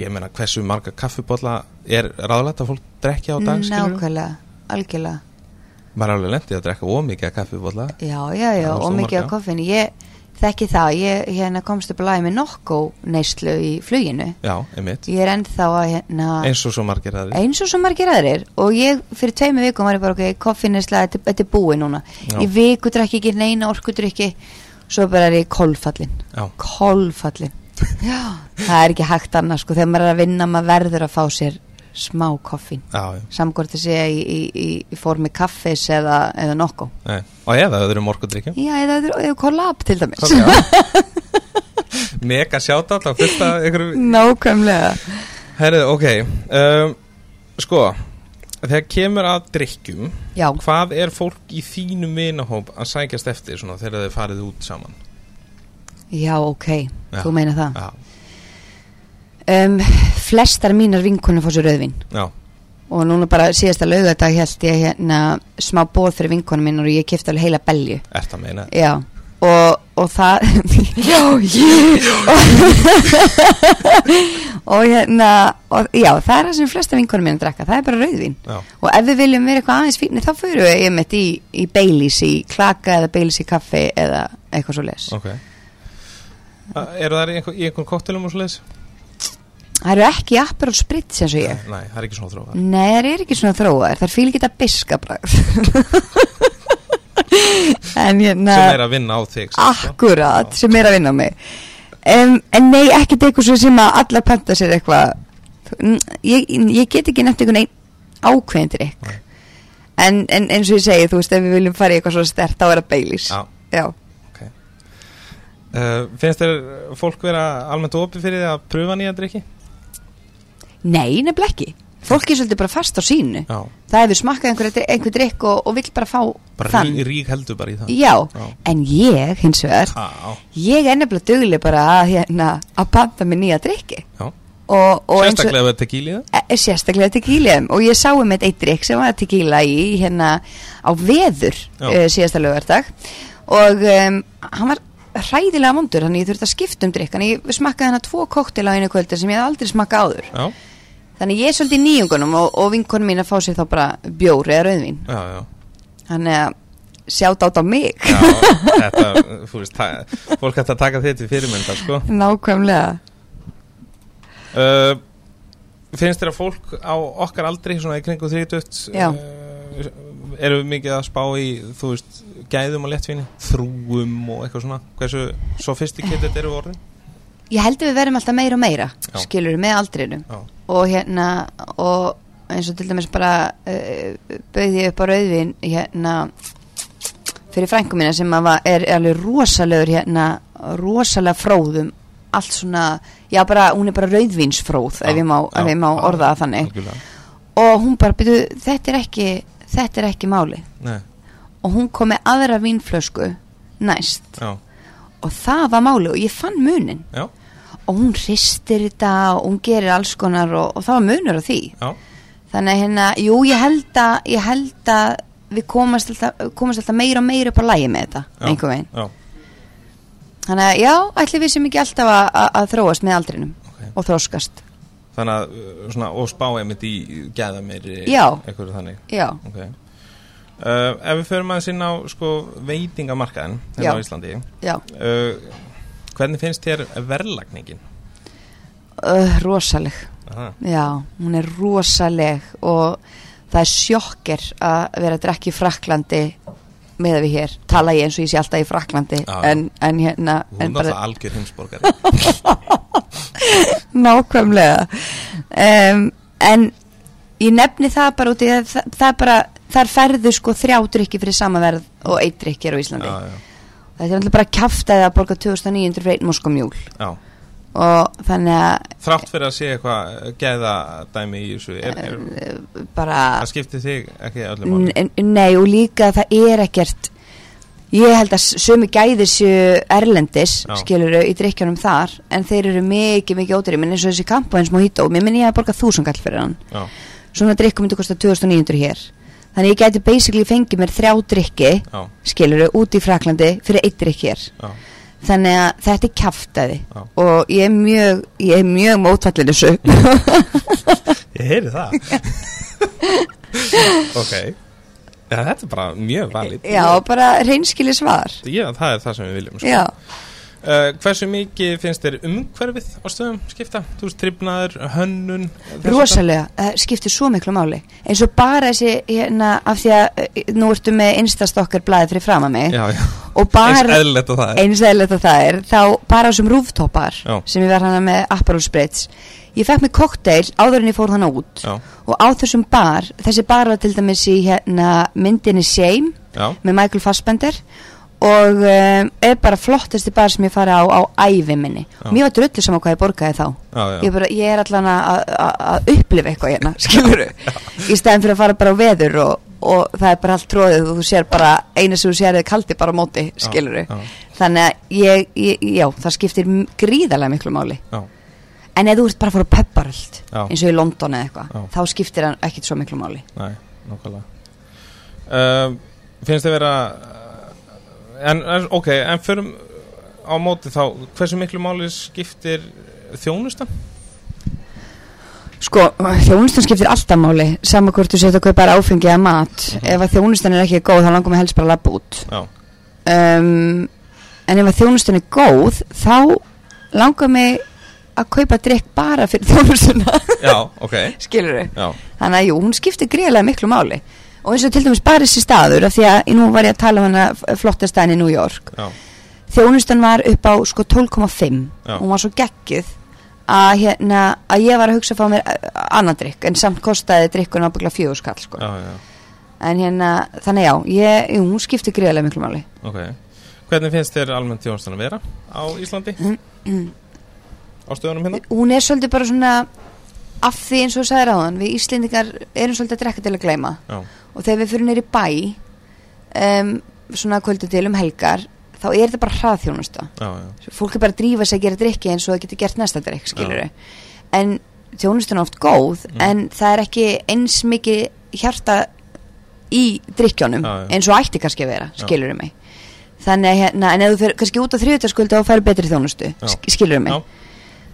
Speaker 3: ég meina hversu marga kaffibólla er ráðlegt að fólk drekja á
Speaker 2: Mm,
Speaker 3: dag skilurðu?
Speaker 2: Nákvæmlega, algjörlega
Speaker 3: maður er alveg lendið að drekka ómikið kaffibólla
Speaker 2: Já, já, já,
Speaker 3: Það er
Speaker 2: og
Speaker 3: svo
Speaker 2: mikið á
Speaker 3: marga.
Speaker 2: koffinu Ég þekki það, ég hérna komst upp að lagi með nokko neyslu í fluginu
Speaker 3: já, einmitt,
Speaker 2: Ég er ennþá að hérna
Speaker 3: eins og svo margir aðri
Speaker 2: eins og svo margir aðrir og ég fyrir tveimu vikum var ég bara ok, koffinnesla, þetta, þetta er búið núna
Speaker 3: Já.
Speaker 2: ég viku drekki ekki, neina orku drekki svo bara er ég kolfallin
Speaker 3: já,
Speaker 2: kolfallin já, það er ekki hægt annars sko, þegar maður er að vinna maður verður að fá sér smá koffin
Speaker 3: já, já
Speaker 2: samkvæmt að segja í, í, í, í formi kaffis eða, eða nokko
Speaker 3: Nei. og eða öðrum orkudrykkjum
Speaker 2: já, eða, eða kollab til dæmis
Speaker 3: mega sjátt á fyrsta ykkur
Speaker 2: nákvæmlega
Speaker 3: Herrið, ok um, Sko Þegar kemur að drikkjum
Speaker 2: já,
Speaker 3: Hvað er fólk í þínum vinahóp að sækjast eftir svona, þegar þið farið út saman?
Speaker 2: já, ok,
Speaker 3: Já.
Speaker 2: þú meina það
Speaker 3: Já,
Speaker 2: um, flestar mínar vinkunum fór sér auðvin
Speaker 3: já,
Speaker 2: og núna bara síðasta laugardag held ég hérna smá bóð fyrir vinkonu minn og ég kifti alveg heila belju
Speaker 3: ert að meina
Speaker 2: já og, og það já, ég og hérna og, já, það er það sem flesta vinkonu minn drekka það er bara rauðvin
Speaker 3: Já,
Speaker 2: og ef við viljum vera eitthvað aðeins fínni þá fyrir við einmitt í, í beilis í klaka eða beilis í kaffi eða eitthvað svo les
Speaker 3: ok A- Eru það í einhver, í einhver koktelum og svoleiðis?
Speaker 2: það eru ekki appar og spritt eins og ég
Speaker 3: Nei, það er ekki svona þrófa
Speaker 2: Nei, það er ekki svona þróar, það er fíl geta biska bragð En hérna
Speaker 3: Sem er að vinna á þig sko. sem sagt, já.
Speaker 2: Akkurat, sem er að vinna á mig um, En nei, ekkert eitthvað svo sem að allar panta sér eitthvað N- ég, ég get ekki nefnt einhvern einn ákveðin drikk
Speaker 3: Nei.
Speaker 2: en, en eins og ég segi, þú veist, ef við viljum fara í eitthvað svo stert þá er það beilis
Speaker 3: Já.
Speaker 2: Já.
Speaker 3: Uh, Finnst þér fólk vera almennt opið fyrir því að pröfa nýja drikki?
Speaker 2: Nei, nefnilega ekki Fólk er svolítið bara fast á sínu
Speaker 3: Já,
Speaker 2: Það hefur smakkað einhver, einhver drikk og, og vill bara fá
Speaker 3: bara
Speaker 2: þann
Speaker 3: rík, rík heldur bara í það
Speaker 2: Já,
Speaker 3: Já.
Speaker 2: en ég hins vegar
Speaker 3: Já,
Speaker 2: ég er nefnilega dugleg bara að, hérna, að panta mér nýja drikki
Speaker 3: já.
Speaker 2: og, og eins og-
Speaker 3: Sérstaklega ef þetta gílið
Speaker 2: e- sérstaklega tequíliðum og ég sá um eitt drikk sem var tequila í hérna á veður
Speaker 3: Já.
Speaker 2: uh, síðasta lögardag og um, hann var hræðilega vondur þannig ég þurfti að skipta um drikk þannig ég smakkaði hérna tvo koktel á einu kvöldi sem ég hef aldrei smakkað áður
Speaker 3: Já,
Speaker 2: þannig ég er svolítið í nýjungunum og, og vinkonum mín að fá sér þá bara bjór eða rauðvín
Speaker 3: já, já
Speaker 2: þannig að sjátt átt á mig
Speaker 3: Já, þetta, þú veist, það, fólk hætti að taka þetta í fyrirmynda, sko.
Speaker 2: nákvæmlega
Speaker 3: Uh, finnst þér að fólk á okkar aldri, svona í kringum 30,
Speaker 2: Já.
Speaker 3: uh, eru mikið að spá í, þú veist, gæðum og lettvinni, þrúum og eitthvað svona, hversu sophisticated eru orðin?
Speaker 2: ég held að við verðum alltaf meira og meira
Speaker 3: Já.
Speaker 2: skilur með aldrinum
Speaker 3: Já.
Speaker 2: og hérna og eins og til dæmis bara uh, bauði ég upp á rauðvin hérna fyrir frængu mína sem að var, er, er alveg rosalegur hérna, rosalega fróðum allt svona, já bara, hún er bara rauðvinsfróð ef ég má,
Speaker 3: Já,
Speaker 2: ef ég má
Speaker 3: já,
Speaker 2: orða það þannig
Speaker 3: algjörlega.
Speaker 2: og hún bara, byrju, þetta er ekki þetta er ekki máli
Speaker 3: Nei,
Speaker 2: og hún kom með aðra vínflösku næst
Speaker 3: já,
Speaker 2: og það var máli og ég fann munin
Speaker 3: já,
Speaker 2: og hún hristir þetta og hún gerir alls konar og, og það var munur á því
Speaker 3: já,
Speaker 2: þannig að hérna, jú ég held að, ég held að við komast alltaf, komast alltaf meira og meira upp á lægi með þetta
Speaker 3: já.
Speaker 2: einhver veginn,
Speaker 3: Já,
Speaker 2: þannig að já ætli við sem ekki alltaf að, að, að þróast með aldrinum
Speaker 3: ok.
Speaker 2: og þróskast,
Speaker 3: Þannig að, uh, svona, og spá einmitt í gæða meiri
Speaker 2: Já.
Speaker 3: Eitthvað þannig
Speaker 2: já
Speaker 3: Ok uh, Ef við förum aðeins inn á, sko, veitingamarkaðin
Speaker 2: Já.
Speaker 3: Hérna á Íslandi
Speaker 2: já,
Speaker 3: uh, Hvernig finnst þér verðlagningin?
Speaker 2: uh, rosaleg
Speaker 3: Aha,
Speaker 2: Já, hún er rosaleg og það er sjokker að vera að drekka í Fraklandi með við hér, tala ég eins og ég sé alltaf í Fraklandi
Speaker 3: Já, já.
Speaker 2: en, en hérna
Speaker 3: hún
Speaker 2: en
Speaker 3: er alltaf algjör heimsborgari
Speaker 2: nákvæmlega um, en ég nefni það bara út í það, það, það er bara, þar ferðu sko þrjá drykki fyrir samaverð og eitt drykki er á Íslandi
Speaker 3: Já, já,
Speaker 2: þetta er alltaf bara kjaftaði að borga 2900 fyrir einn moskomjúl
Speaker 3: já
Speaker 2: og þannig að
Speaker 3: Þrátt fyrir að sé eitthvað gæða dæmi í þessu er, er,
Speaker 2: eh, bara
Speaker 3: Það skiptir þig ekki öllum máli
Speaker 2: N- n- Nei og líka það er ekkert Ég held að sömu gæðir séu erlendis,
Speaker 3: Já.
Speaker 2: skiluru, í drikkjunum þar En þeir eru mikið, mikið ódýri Minn eins og þessi kampu eins mojito Mér minn ég að borga þúsungall fyrir hann
Speaker 3: Já,
Speaker 2: Svona drikku myndi kosta 2900 hér Þannig ég gæti basically fengið mér þrjá drikki
Speaker 3: já,
Speaker 2: Skiluru, út í Fraklandi fyrir eitt drikk hér
Speaker 3: já,
Speaker 2: Þannig að þetta er kjaftaði
Speaker 3: Já.
Speaker 2: Og ég er mjög, ég er mjög mótfallin þessu
Speaker 3: ég heyri það Ok Já, þetta er bara mjög valid
Speaker 2: Já, bara reynskili svar
Speaker 3: Já, það er það sem við viljum sko.
Speaker 2: Já
Speaker 3: uh, Hversu mikið finnst þér umhverfið á stöðum skipta? Þú veist, tripnaður, hönnun þess háttar?
Speaker 2: rosalega, það skiptir svo miklu máli eins og bara þessi hérna, af því að eh, nú ertu með instastokkar blæðið fyrir fram að mig
Speaker 3: Já, já,
Speaker 2: og
Speaker 3: eins
Speaker 2: bara,
Speaker 3: eðlilegt og það er
Speaker 2: eins eðlilegt að það er þá bara á sem rúftoppar
Speaker 3: Já.
Speaker 2: sem ég var hana með Aperol Spritz ég fekk mig kokteil áður en ég fór þannig út
Speaker 3: Já,
Speaker 2: og á þessum bar, þessi bar var til dæmis í hérna, myndinni Shame
Speaker 3: já,
Speaker 2: með Michael Fassbender og um, er bara flottasti bar sem ég fari á á ævi minni
Speaker 3: Já.
Speaker 2: mér var drullu saman hvað ég borgaði þá
Speaker 3: já, já,
Speaker 2: ég, bara, ég er allan að- að að upplifa eitthvað hérna, skilur í stæðin fyrir að fara bara á veður og, og það er bara allt tróðið og þú sér bara eina sem þú sér er kaldi bara á móti, skilur
Speaker 3: já.
Speaker 2: þannig að ég, ég, já, það skiptir m- gríðarlega miklu máli
Speaker 3: já,
Speaker 2: en ef þú ert bara að fara á pepparöld
Speaker 3: Já.
Speaker 2: eins og í London eða eitthvað,
Speaker 3: Já.
Speaker 2: þá skiptir hann ekkit svo miklu máli
Speaker 3: næ, nákvæmlega uh, Finnst þér vera eh, en, en, ok, en förum á móti þá, hversu miklu máli skiptir þjónustan?
Speaker 2: Sko, þjónustan skiptir alltaf máli saman hvort þú setja að kaupa þér áfengi eða mat
Speaker 3: Mhm.
Speaker 2: ef að þjónustan er ekki góð þá langar mig helst bara að labba út
Speaker 3: Já,
Speaker 2: um, en ef að þjónustun er góð þá langar mig að kaupa drikk bara fyrir þjónustuna
Speaker 3: já, ok
Speaker 2: skilur þau,
Speaker 3: Já,
Speaker 2: þannig að jú, hún skiptir greiðlega miklu máli og eins og til dæmis bara þessi staður af því að nú var ég að tala um hana flottastæðin í New York
Speaker 3: já,
Speaker 2: þjónustan var upp á sko 12,5
Speaker 3: Já.
Speaker 2: hún var svo geggið að, hérna, að ég var að hugsa að fá mér eh, annan drikk en samt kostaði drikkun ábyggla fjögurskall sko.
Speaker 3: já, já,
Speaker 2: en hérna, þannig já, ég, jú, hún skiptir greiðlega miklu máli
Speaker 3: ok Hvernig finnst þér almennt þjónustan að vera á Íslandi? á stöðunum hérna?
Speaker 2: hún er svolítið bara svona af því eins og þú sagðir á hann við Íslendingar erum svolítið að drekka til að gleyma
Speaker 3: Já,
Speaker 2: og þegar við fyrir neyri bæ um, svona kvöldu til um helgar þá er þetta bara hraðþjónusta
Speaker 3: já, já,
Speaker 2: fólk er bara að drífa sig að gera drikki eins og það getur gert næsta drikk skilur en þjónustan er oft góð
Speaker 3: Mm.
Speaker 2: en það er ekki eins mikið hjarta í drikkjónum
Speaker 3: Já, já.
Speaker 2: eins og ætti kannski að vera
Speaker 3: Já.
Speaker 2: skilur mig þannig að hérna, en ef þú fyrir kannski út á þriðutaskvöldu þá færi betri þjónustu,
Speaker 3: Já.
Speaker 2: skilur mig
Speaker 3: já,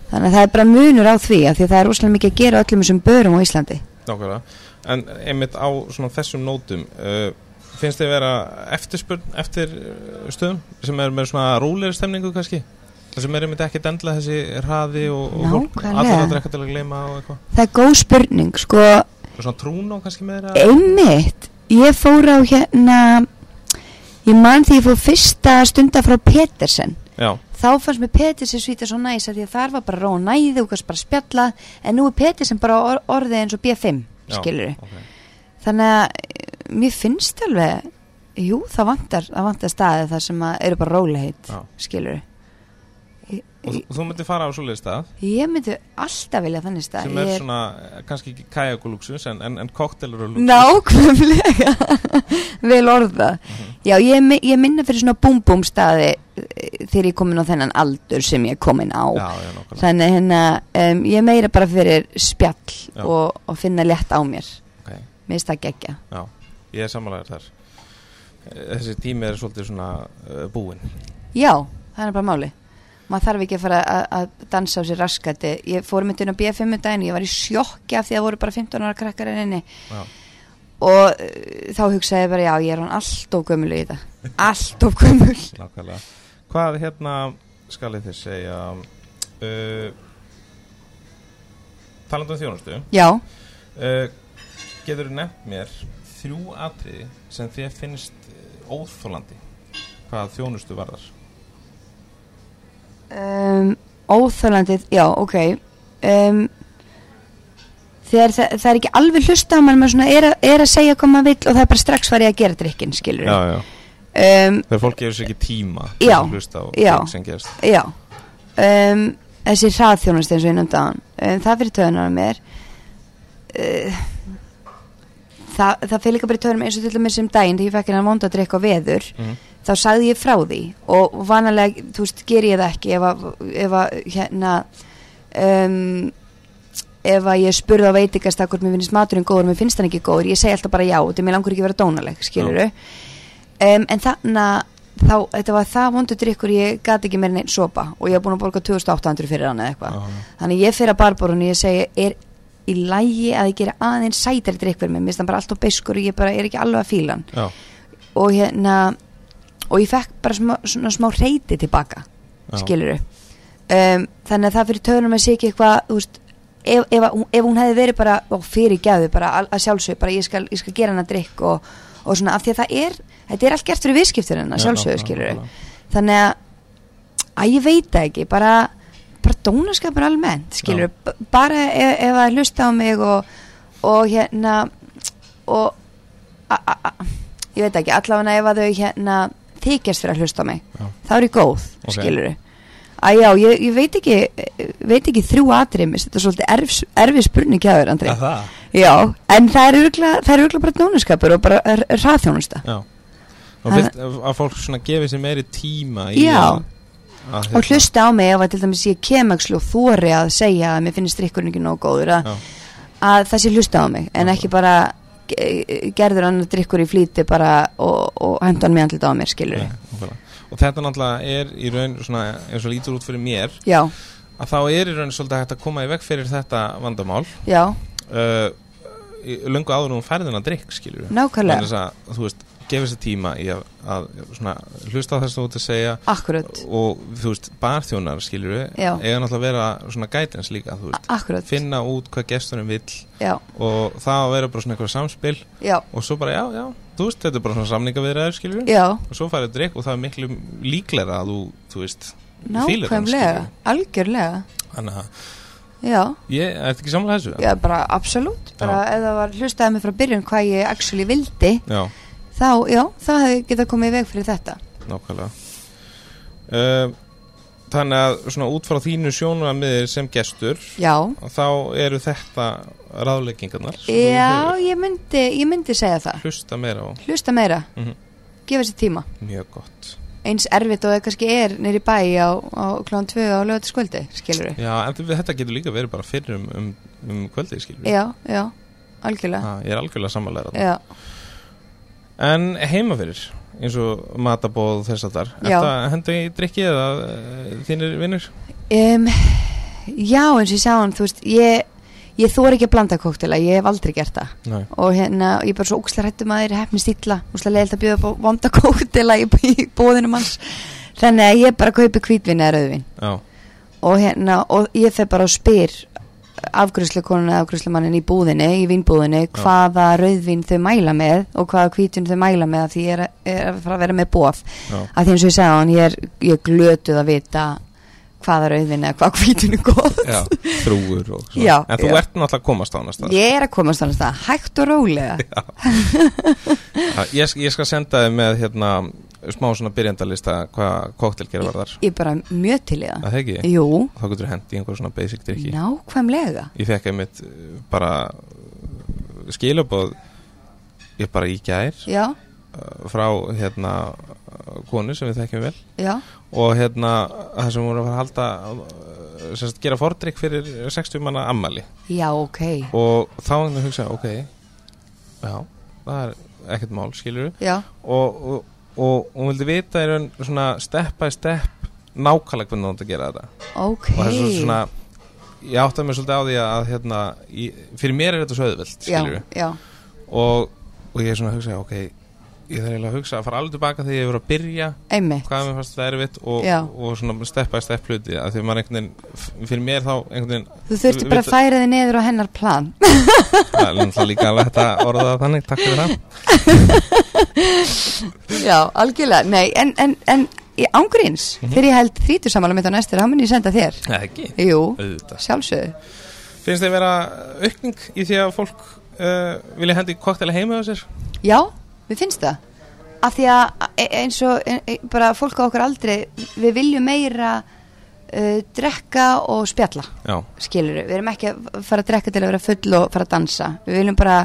Speaker 2: Þannig að það er bara munur á því af því að það er rosalega mikið að gera á öllum þessum börum á Íslandi.
Speaker 3: nákvæmlega En einmitt á svona þessum nótum uh, finnst þér vera eftirspurn eftir uh, stöðum sem er með svona rólegri stemningu kannski? Það sem er einmitt ekki dendla þessi hraði og, og fólk
Speaker 2: Nákvæmlega.
Speaker 3: allir að drekka til að gleyma og eitthvað
Speaker 2: Það er góð spurning, sko,
Speaker 3: Og Svona trúna kannski með
Speaker 2: Eh.
Speaker 3: þeirra?
Speaker 2: einmitt, ég fór á hérna, ég man því ég fór fyrsta stunda frá Petersen,
Speaker 3: Já,
Speaker 2: þá fannst mér Petir sem svítið svo næs að því að þar var bara rón næði og kannski bara spjalla en nú er Petir sem bara or orðið eins og B5 skilur
Speaker 3: okay.
Speaker 2: þannig að eh, mér finnst alveg jú það vantar, það vantar staði þar sem að eru bara róleheit
Speaker 3: Já.
Speaker 2: skilur
Speaker 3: og þú- þú myndir fara á svoleiðis stað
Speaker 2: ég myndi alltaf vilja þannig stað
Speaker 3: sem er
Speaker 2: Ég-
Speaker 3: svona, eh, kannski ekki kajakulúksus en, en, en koktelur og lúksus
Speaker 2: Nákvæmlega Vel orða
Speaker 3: Mhm.
Speaker 2: Já, ég, mi- ég minna fyrir svona búm-búm staði eh, þegar ég komin á þennan aldur sem ég er komin á
Speaker 3: já, já, nákvæmlega
Speaker 2: Þannig hérna, um, ég er meira bara fyrir
Speaker 3: Já.
Speaker 2: spjall og, og finna létt á mér
Speaker 3: okay.
Speaker 2: Mér finnst það geggja
Speaker 3: já, ég er samanlegar þar Eh, þessi tími er svolítið svona uh, búinn
Speaker 2: Já, það er bara máli Maður þarf ekki að fara að- að dansa á sér raskati Ég fór mitt inn á BFM um daginn og Ég var í sjokki af því að voru bara 15 ára krakkar en inni
Speaker 3: já,
Speaker 2: Og uh, þá hugsaði ég bara, já, ég er hann allt of gömul í þetta Allt of gömul
Speaker 3: nákvæmlega hvað hérna skal ég þér segja uh, talandum þjónustu
Speaker 2: Já,
Speaker 3: uh, getur þú nefnt mér þrjú atriði sem þér finnst eh, óþolandi hvað þjónustu varðar
Speaker 2: um, Óþölandið, já, ok um, Þegar það, það er ekki alveg hlusta á mann maður svona er, að- er að segja hvað maður vill og það er bara strax farið að gera drikkin, skilur
Speaker 3: já.
Speaker 2: um,
Speaker 3: þegar fólk gefur sér ekki tíma til
Speaker 2: Já,
Speaker 3: að hlusta á
Speaker 2: já.
Speaker 3: fólk sem gerst
Speaker 2: Já um, Þessi hraðþjónust eins og ég nefndi á hann um, Það fyrir töðunar mér uh, Það, það fyrir líka bara í töðunum eins og til dæmis sem daginn þegar ég fekk hérna vonda að drikka á veður
Speaker 3: mm.
Speaker 2: þá sagði ég frá því og vanalega, þú veist, ger ég það ekki ef að, ef að hérna um, ef að ég spurði á veitingast að hvort mér finnst maturinn góður, mér finnst hann ekki góður ég segi alltaf bara já, þetta er mér langur ekki að vera dónaleg skilur um, en þannig að þá, þetta var það vondur drikkur ég gat ekki meira neitt sopa og ég var búin að borga 2800 fyrir hann eða eitthvað
Speaker 3: Já, já.
Speaker 2: þannig að ég fyrir að barborun og ég segi er í lægi að ég gera aðeins sætari drikk fyrir mig, mér finnst hann bara alltaf beiskur og ég bara er ekki alveg að fíla hann
Speaker 3: já,
Speaker 2: og hérna og ég fekk bara smá, svona smá reyti tilbaka,
Speaker 3: já.
Speaker 2: skilur um, þannig að það fyrir töðunum að sé ekki eitthvað þú veist, ef, ef, að hún- ef hún hefði verið bara á fyrirgæðu, bara að, að sjálfsög bara ég skal, ég skal gera hana drikk og, og svona af því að það er, þetta er allt gert fyrir viðskiptur hennar,
Speaker 3: Já,
Speaker 2: sjálfsög,
Speaker 3: nákvæmlega,
Speaker 2: skilur
Speaker 3: nákvæmlega.
Speaker 2: þannig að að ég veit það ekki, bara bara dónaskapur almennt, skilur bara ef, ef að hlusta á mig og, og hérna og a, a, a, ég veit ekki, allavega ef að þau hérna þykjast fyrir að hlusta á mig
Speaker 3: Já.
Speaker 2: þá er ég góð,
Speaker 3: Ok.
Speaker 2: okay. skilur að já, ég, ég veit ekki veit ekki þrjú atrið, mér finnst þetta svolítið erfis, erfis spurning hjá þér, Andri
Speaker 3: Að það?
Speaker 2: já, en það er örugglega- það er örgulega bara dónaskapur og bara hraðþjónusta
Speaker 3: Já. og
Speaker 2: Hann-
Speaker 3: vilt að að fólk svona gefi sér meiri tíma í
Speaker 2: Já.
Speaker 3: að, að hérna-
Speaker 2: og hlusta á mig ef að til dæmis ég kemakslu og þóri að segja að mér finnst drikkurinn ekki nóg góður að,
Speaker 3: Já.
Speaker 2: að það sé hlusta á mig en
Speaker 3: Já.
Speaker 2: ekki bara ge- gerður annar drikkur í flýti bara og, og hendan mig andlita á mér skilur
Speaker 3: Nei, nákvæmlega. og þetta náttúrulega er í raun svona, eins og lítur út fyrir mér
Speaker 2: já,
Speaker 3: að þá er í raun svolítið hægt að koma í veg fyrir þetta vandamál
Speaker 2: já,
Speaker 3: uh, í- löngu áður en hún færðin að drikk skilur við
Speaker 2: nákvæmlega
Speaker 3: að, þú veist, gefa sér tíma í að, að svona, hlusta á þess að þú ert að segja
Speaker 2: akkurat,
Speaker 3: og þú veist, barþjónar skilur við
Speaker 2: Já.
Speaker 3: eiga náttúrulega að vera svona guidance líka þú veist,
Speaker 2: akkurat
Speaker 3: finna út hvað gestunum vill
Speaker 2: já,
Speaker 3: og það að vera bara svona eitthvað samspil
Speaker 2: já,
Speaker 3: og svo bara já, já, þú veist, þetta er bara svona samningaviðræður skilur við
Speaker 2: já
Speaker 3: og svo farið drikk og það er miklu líklega að þú, þú veist fílar hann,
Speaker 2: nákvæmlega, algjörlega
Speaker 3: þannig að
Speaker 2: já,
Speaker 3: ég er ekki samlega þessu
Speaker 2: já, bara absolutt bara ef það var hlustaði mig frá byrjun hvað ég actually vildi,
Speaker 3: já
Speaker 2: þá, já þá hefði getað komið í veg fyrir þetta
Speaker 3: nákvæmlega uh, þannig að svona út frá þínu sjónamiðir sem gestur
Speaker 2: já,
Speaker 3: þá eru þetta ráðleggingarnar sem þú
Speaker 2: Já,
Speaker 3: hefur.
Speaker 2: ég myndi, ég myndi segja það.
Speaker 3: hlusta meira á
Speaker 2: Hlusta meira,
Speaker 3: Mhm.
Speaker 2: gefa sér tíma.
Speaker 3: mjög gott
Speaker 2: Eins erfitt og það kannski er nýri bæ á, á klón 2 á lögatiskvöldi, skilur við.
Speaker 3: já, en þið- þetta getur líka verið bara fyrir um, um, um kvöldið skilur
Speaker 2: Já, já, algjörlega.
Speaker 3: ég er algjörlega samlega þetta
Speaker 2: Já,
Speaker 3: en heima fyrir eins og matabóð þess að þar
Speaker 2: Já.
Speaker 3: hendur í drikki eða uh, þínir vinnur
Speaker 2: um, já eins og ég sá hann, þú veist, ég, ég þóra ekki að blanda kóktela, ég hef aldrei gert það.
Speaker 3: Nei.
Speaker 2: Og hérna, ég er bara svo ókslega hrættum að þeir hefnist illa, ókslega leiðilt að bjóða upp á vonda kóktela í, í bóðinum hans. Þannig að ég bara kaupi kvítvinni eða rauðvin.
Speaker 3: já,
Speaker 2: og hérna, og ég fer bara og spyr afgrúslukonan eða afgrúslumannin í búðinni, í vínbúðinni, hvaða rauðvín þau mæla með og hvaða hvítun þau mæla með af því ég er, er að fara að vera með bóð
Speaker 3: Já.
Speaker 2: af því eins og ég segja hann, ég er, ég er glötuð að vita hvaða rauðvín eða hvaða hvítun er góð
Speaker 4: já,
Speaker 3: þrúgur og svona.
Speaker 2: Já,
Speaker 3: en þú
Speaker 2: já.
Speaker 3: ert náttúrulega að komast á hana stað
Speaker 2: ég er að komast þannig að hægt og rólega
Speaker 3: ég, ég skal senda þið með hérna, smá svona byrjandalista hvað koktelgeri var þar
Speaker 2: ég er bara mjög til í það
Speaker 3: að þegi,
Speaker 2: Jú,
Speaker 3: þá getur hend í einhver svona basic drikki
Speaker 2: nákvæmlega
Speaker 3: ég fekk einmitt uh, bara uh, skilabóð ég bara í gær
Speaker 2: Já,
Speaker 3: uh, frá hérna uh, konu sem við þekkjum vel
Speaker 2: já,
Speaker 3: og hérna það sem voru að fara að halda uh, sem sagt gera fordrykk fyrir 60 manna ammali
Speaker 2: já, ok
Speaker 3: og þá einhvern veginn hugsa ok, já, það er ekkert mál, skilur við
Speaker 2: Já,
Speaker 3: og, og, og hún vildi vita í raun svona step by step nákvæmlega hvernig hún átti að gera þetta
Speaker 2: ok
Speaker 3: og það er svona, svona ég átti mig svolítið á því að hérna, í, fyrir mér er þetta svo auðvelt, skilur
Speaker 2: Já, já,
Speaker 3: við og, og ég er svona að hugsa, ok ég þarf eiginlega að hugsa að fara alveg tilbaka þegar ég voru að byrja
Speaker 2: einmitt
Speaker 3: hvað mér fannst það erfitt og,
Speaker 2: Já.
Speaker 3: og svona step by step hluti að því maður einhvern veginn, fyrir mér þá einhvern veginn
Speaker 2: Þú þurfti bara að færa þig neður á hennar plan
Speaker 3: það er náttúrulega líka alveg hægt að orða það þannig, takk fyrir það
Speaker 2: Já, algjörlega, nei, en, en, en í ángríns, þegar ég held þrítursamála mitt á næstur, þá mun ég senda þér
Speaker 3: Nei, ekki,
Speaker 2: Jú,
Speaker 3: auðvitað
Speaker 2: sjálfsögðu
Speaker 3: Finnst þið vera aukning í því að fólk uh, vilja hendi koktela heima á sér?
Speaker 2: Já, við finnst það af því að e- eins og e- e- bara fólk á okkur aldrei, við viljum meira uh, drekka og spjalla
Speaker 3: Já,
Speaker 2: skilur við, við erum ekki að fara að drekka til að vera full og fara að dansa við viljum bara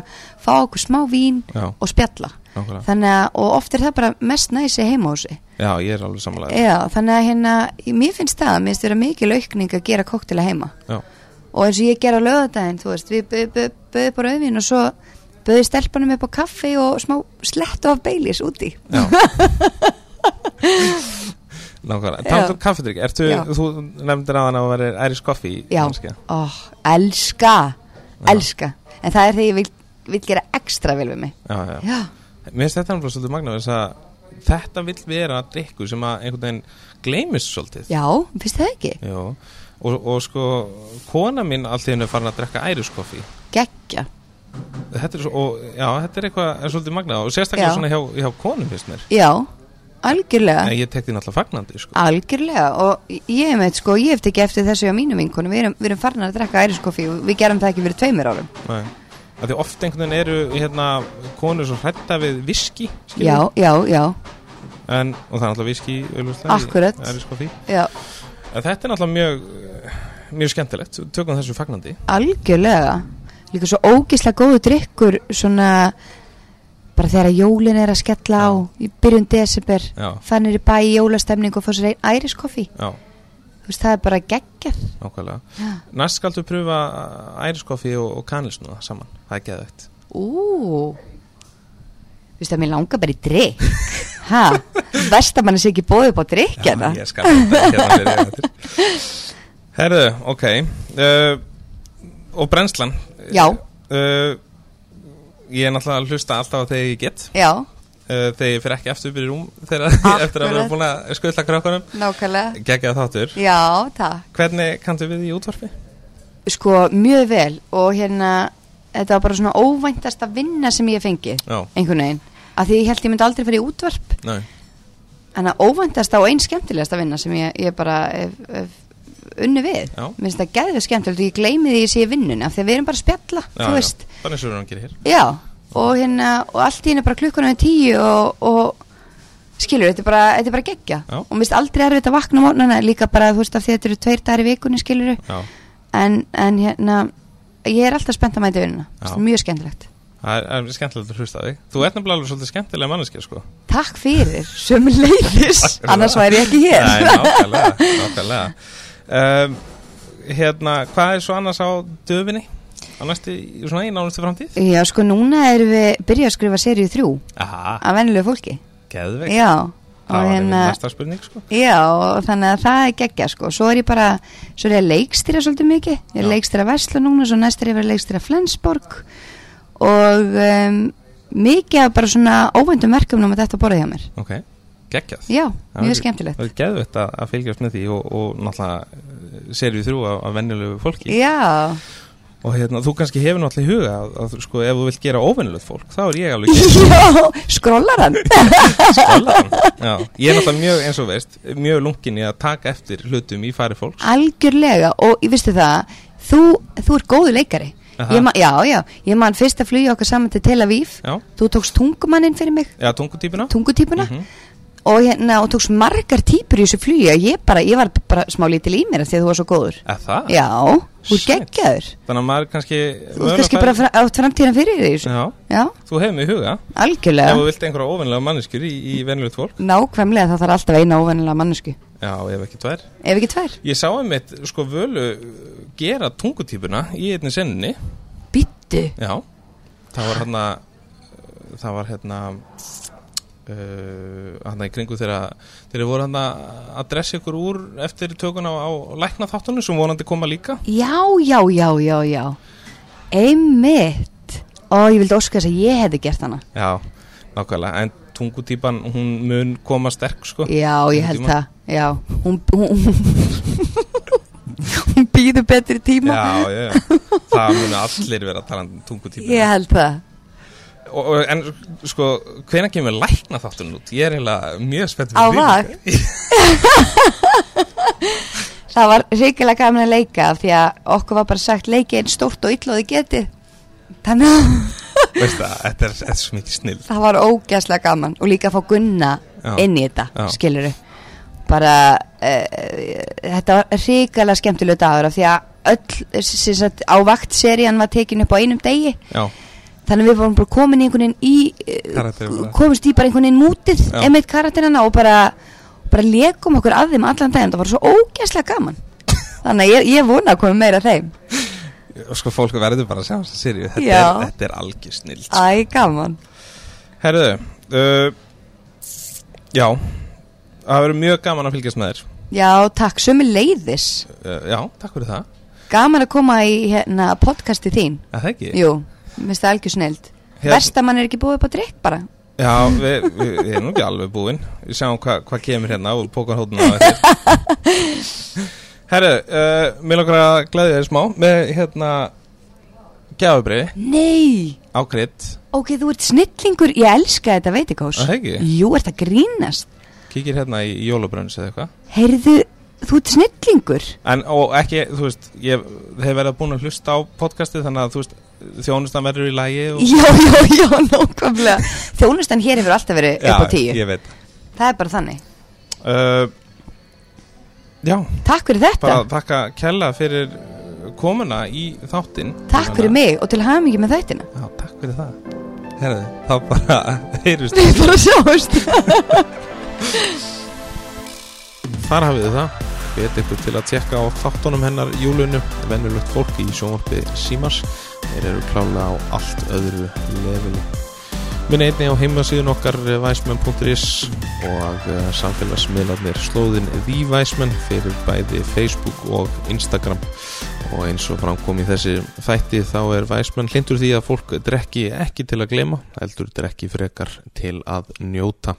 Speaker 2: fá okkur smá vín
Speaker 3: já,
Speaker 2: og spjalla
Speaker 3: nákvæmlega
Speaker 2: þannig að, og oft er það bara mest næsi heima á sig
Speaker 3: Já, ég er alveg samanlega
Speaker 2: Já, þannig að hérna, mér finnst það mér finnst vera mikil aukning að gera koktela heima
Speaker 3: Já,
Speaker 2: og eins og ég gera lögadaginn, þú veist við böðum bö, bö, bö, bara auðvín og svo böðum stelpunum upp á kaffi og smá slettu af beilis úti
Speaker 3: já Nákvæmlega,
Speaker 2: Já.
Speaker 3: tamt um kaffedrykk Ertu,
Speaker 2: Já.
Speaker 3: þú nefndir að hann að vera Irish Coffee
Speaker 2: Já,
Speaker 3: kannski?
Speaker 2: ó, elska elska, en það er þegar ég vil, vil gera ekstra vel við mig
Speaker 3: já, já.
Speaker 2: Já,
Speaker 3: Mér finnst þetta alveg svolítið magna þess að þetta vill vera drikku sem að einhvern veginn gleymist svolítið
Speaker 2: já, finnst það ekki?
Speaker 3: Jó. Og, og sko, kona mín allt í hennu farin að drekka Irish Coffee
Speaker 2: Gekkja
Speaker 3: Þetta er, svo, og, já, þetta er eitthvað er svolítið magna og sérstaklega
Speaker 2: Já.
Speaker 3: svona hjá, hjá konum finnst mér
Speaker 2: Já, algjörlega
Speaker 3: en ég tek því náttúrulega fagnandi sko.
Speaker 2: Algjörlega og ég veit sko, ég hef tekið eftir þessu á mínum vinkunum, við erum, við erum farin að drekka æriskoffi og við gerum það ekki fyrir tveimur árum
Speaker 3: Nei. Af því oft einhvern veginn eru hérna, konur svo hrætta við viski
Speaker 2: Já, já, já,
Speaker 3: en, og það er náttúrulega viski augljóslega, í
Speaker 2: Akkurat.
Speaker 3: Irish Coffee.
Speaker 2: já,
Speaker 3: en þetta er náttúrulega mjög eh, mjög skemmtilegt, tökum þessu fagnandi
Speaker 2: algjörlega Líka svo ógislega góðu drikkur svona bara þegar jólin er að skella á í byrjun desember,
Speaker 3: Já.
Speaker 2: fannir í bæ í jólastemning og fá sér einn æriskoffi
Speaker 3: já,
Speaker 2: þú veist, það er bara geggjað
Speaker 3: nákvæmlega
Speaker 2: Já.
Speaker 3: næst skaltu pröfa eh, Irish Coffee og, og kanilsnúða saman, það er geðvegt
Speaker 2: Ú Vistu að mér langar bara í drikk Ha, verst að mann sé ekki bóðið upp á drikkjana
Speaker 3: ég skal þetta hérna fyrir ég eftir. herðu, ok uh, og brennslan
Speaker 2: Já.
Speaker 3: uh, ég er náttúrulega að hlusta alltaf á þegar ég get
Speaker 2: Já,
Speaker 3: uh, þegar ég fyrir ekki aftur upp í rúm þegar eftir að vera
Speaker 2: Akkurat.
Speaker 3: búin að skutla krökkunum
Speaker 2: nákvæmlega
Speaker 3: geggja þáttur
Speaker 2: Já, takk.
Speaker 3: hvernig kanntu við í útvarpi?
Speaker 2: Sko, mjög vel og hérna, þetta var bara svona óvæntasta vinna sem ég hef fengið,
Speaker 3: já,
Speaker 2: einhvern veginn. Af því ég held ég myndi aldrei fara í útvarp,
Speaker 3: næ,
Speaker 2: þannig að óvæntasta og einn skemmtilegasta vinna sem ég, ég bara hef, hef unni við.
Speaker 3: Já.
Speaker 2: Mér finnst það gæðið skemmtilegt og ég gleymi því ég sé í vinnunni af því að við erum bara að spjalla, þú veist.
Speaker 3: þannig sem við erum að gera hér
Speaker 2: Já, og hérna, og allt í henni bara klukkunum er tíu og, og skilur, þetta er bara, þetta er bara geggja.
Speaker 3: Já.
Speaker 2: Og mér finnst aldrei erfitt að vakna á mótnana líka bara, þú veist, af því að þetta eru tveir dagar í vikunni, skilur,
Speaker 3: já,
Speaker 2: en, en hérna ég er alltaf spennt að mæta vinnuna
Speaker 3: Já.
Speaker 2: mjög skemmtilegt
Speaker 3: það er, er skemmtilegt að hlusta á þig þú ert nefnilega alveg svolítið skemmtilega manneskja sko
Speaker 2: takk fyrir, sömu leiðis annars væri ég ekki hér
Speaker 3: Nei, nákvæmlega, nákvæmlega um, hérna, hvað er svo annars á döfinni? á næstu, í svona í nánustu framtíð?
Speaker 2: já sko núna erum við byrjað að skrifa seríu þrjú
Speaker 3: aha,
Speaker 2: af vennilegu fólki
Speaker 3: geðvegt
Speaker 2: já,
Speaker 3: það
Speaker 2: og
Speaker 3: var hérna
Speaker 2: hérna
Speaker 3: næsta spurning sko
Speaker 2: já, og þannig að það er geggja sko svo er ég bara, svo er ég að leikstýra svolítið mikið ég er
Speaker 3: Já.
Speaker 2: að leikstýra Vesla núna svo næst er ég að vera að leikstýra Flensborg og um, mikið af bara svona óvendum verkefnum að þetta borðið hjá mér
Speaker 3: ok, geggjað
Speaker 2: já, mjög
Speaker 3: Það verður-
Speaker 2: skemmtilegt
Speaker 3: Það er geðvett að, að fylgjast með því og, og náttúrulega serið við þrjú af, af venjulegu fólki
Speaker 2: já,
Speaker 3: og hérna, þú kannski hefur náttúrulega í huga að, að sko, ef þú vilt gera óvennilegt fólk þá er ég alveg ekki
Speaker 2: já skrollar hann
Speaker 3: skallan Já, ég er náttúrulega mjög, eins og veist, mjög lunkin í að taka eftir hlutum í fari fólks
Speaker 2: algjörlega og ég vistu það þú, þú ert góðu leikari
Speaker 3: Aha.
Speaker 2: ég man, já, já, ég man fyrst að flugja okkar saman til Tel Aviv
Speaker 3: Já,
Speaker 2: þú tókst tungumanninn fyrir mig
Speaker 3: já tungutýpuna
Speaker 2: tungutýpuna
Speaker 3: Mhm.
Speaker 2: og, hérna, og tókst margar týpur í þessu flugi og ég, bara, ég var bara smá lítil í mér af því að þú var svo góður
Speaker 3: Eða það?
Speaker 2: já, þú er
Speaker 3: Shit.
Speaker 2: geggjaður
Speaker 3: Þannig að maður kannski
Speaker 2: þú ert kannski bara fra- átt framtíðan fyrir því já.
Speaker 3: Já,
Speaker 2: já,
Speaker 3: þú hefur mig í huga
Speaker 2: algjörlega
Speaker 3: Ef þú vilt einhverja óvennilega manneskjur í, í venjulegt fólk
Speaker 2: nákvæmlega það þarf alltaf eina óvennilega mannesku
Speaker 3: Já, ef ekki tvær
Speaker 2: ef ekki tvær,
Speaker 3: Ég sá einmitt, sko, völu uh, gera tungutýpuna í einni senninni
Speaker 2: byttu
Speaker 3: Já, það var hérna það var hérna uh, hérna í kringu þegar þeir voru hérna að dressa ykkur úr eftir tökuna á, á lækna þáttunum sem vonandi koma líka
Speaker 2: já, já, já, já, já einmitt og ég vildi óska þess að ég hefði gert hana
Speaker 3: Já, nákvæmlega, en tungutýpan hún mun koma sterk sko
Speaker 2: já, ég
Speaker 3: Einhvern
Speaker 2: held
Speaker 3: tímann.
Speaker 2: það já, hún hún, hún býður betri tíma
Speaker 3: Já, já, já, það munu allir vera talandi um tungutýpuna
Speaker 2: ég held það
Speaker 3: og, og, En sko, hvenær kemur lækna þáttunum út? Ég er eiginlega mjög spennt
Speaker 2: Á
Speaker 3: fyrir því.
Speaker 2: vakt? Það var ríkilega gaman að leika af því að okkur var bara sagt leiki einn stórt og illa og þið getið. Þannig að
Speaker 3: Veist það, þetta er, þetta er svo mikið snill
Speaker 2: það var ógæslega gaman og líka að fá Gunna
Speaker 3: Já.
Speaker 2: inn í þetta,
Speaker 3: Já.
Speaker 2: já. skiluru. Bara, uh, þetta var ríkilega skemmtilega dagur af því að öll, sem sagt, á vakt serían var tekin upp á einum degi.
Speaker 3: Já,
Speaker 2: Þannig að við vorum bara komin í einhvern veginn í,
Speaker 3: Karakterinn bara.
Speaker 2: komist í bara einhvern veginn mútið,
Speaker 3: Já.
Speaker 2: emeitt karakterina og bara, bara leikum okkur að þeim allan daginn. Það var svo ógæslega gaman. Þannig að ég, ég vona að koma meira af þeim.
Speaker 3: og sko fólk verður bara að sjá þess að sirju þetta,
Speaker 2: Já.
Speaker 3: er- þetta er algjör snill
Speaker 2: Æ, gaman.
Speaker 3: Herðu, uh, já, það verður mjög gaman að fylgjast með þér.
Speaker 2: Já, takk, sömu leiðis.
Speaker 3: Uh, já, takk fyrir það.
Speaker 2: Gaman að koma í hérna, podcasti þín.
Speaker 3: Er það ekki?
Speaker 2: Jú, minnst það algjör snild.
Speaker 3: Hérna-
Speaker 2: Verst að mann er ekki búið upp á drikk bara.
Speaker 3: Já, við, við, við erum ekki alveg búin. Við sjáum hva- hvað kemur hérna og pókan hóttunum á þetta. Herðu, uh, mér langar að gleðja þér smá með hérna gjafabriði
Speaker 2: Nei,
Speaker 3: á krydd.
Speaker 2: ok, þú ert snillingur, ég elska þetta veitikós.
Speaker 3: Er það ekki?
Speaker 2: Jú, ert að grínast.
Speaker 3: Kíkir hérna í jólabrönns eða eitthvað.
Speaker 2: Heyrðu, þú ert snillingur.
Speaker 3: En og ekki, þú veist, ég hef verið búin að hlusta á podcastið þannig að þú veist, þjónustan verður í lagi og...
Speaker 2: Já, já, já, nákvæmlega. Þjónustan hér hefur alltaf verið upp á tíu.
Speaker 3: Já, ég veit.
Speaker 2: Það er bara þannig.
Speaker 3: Uh, já,
Speaker 2: Takk fyrir þetta.
Speaker 3: bara þakka Kella fyrir uh, komuna í þáttinn
Speaker 2: Takk fyrir mig og til hamingi með þættina.
Speaker 3: Já, takk fyrir það Herðu, þá bara heyrust
Speaker 2: Við bara sjáumst.
Speaker 1: Þar hafið þið það. Við ykkur til að tjekka á þáttunum hennar júlunu, venjulegt fólk í sjónvarpi Símars. Þeir eru klálega á allt öðru leveli. Minna einni á heimasíðun okkar eh, væsmenn.is og eh, samfélagsmiðlarnir slóðin The Væsmenn fyrir bæði Facebook og Instagram. Og eins og framkom í þessi þætti þá er væsmenn hlindur því að fólk drekki ekki til að glema, heldur drekki frekar til að njóta.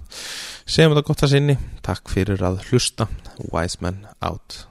Speaker 1: Segjum þetta gott að sinni, takk fyrir að hlusta, Wise Men Out.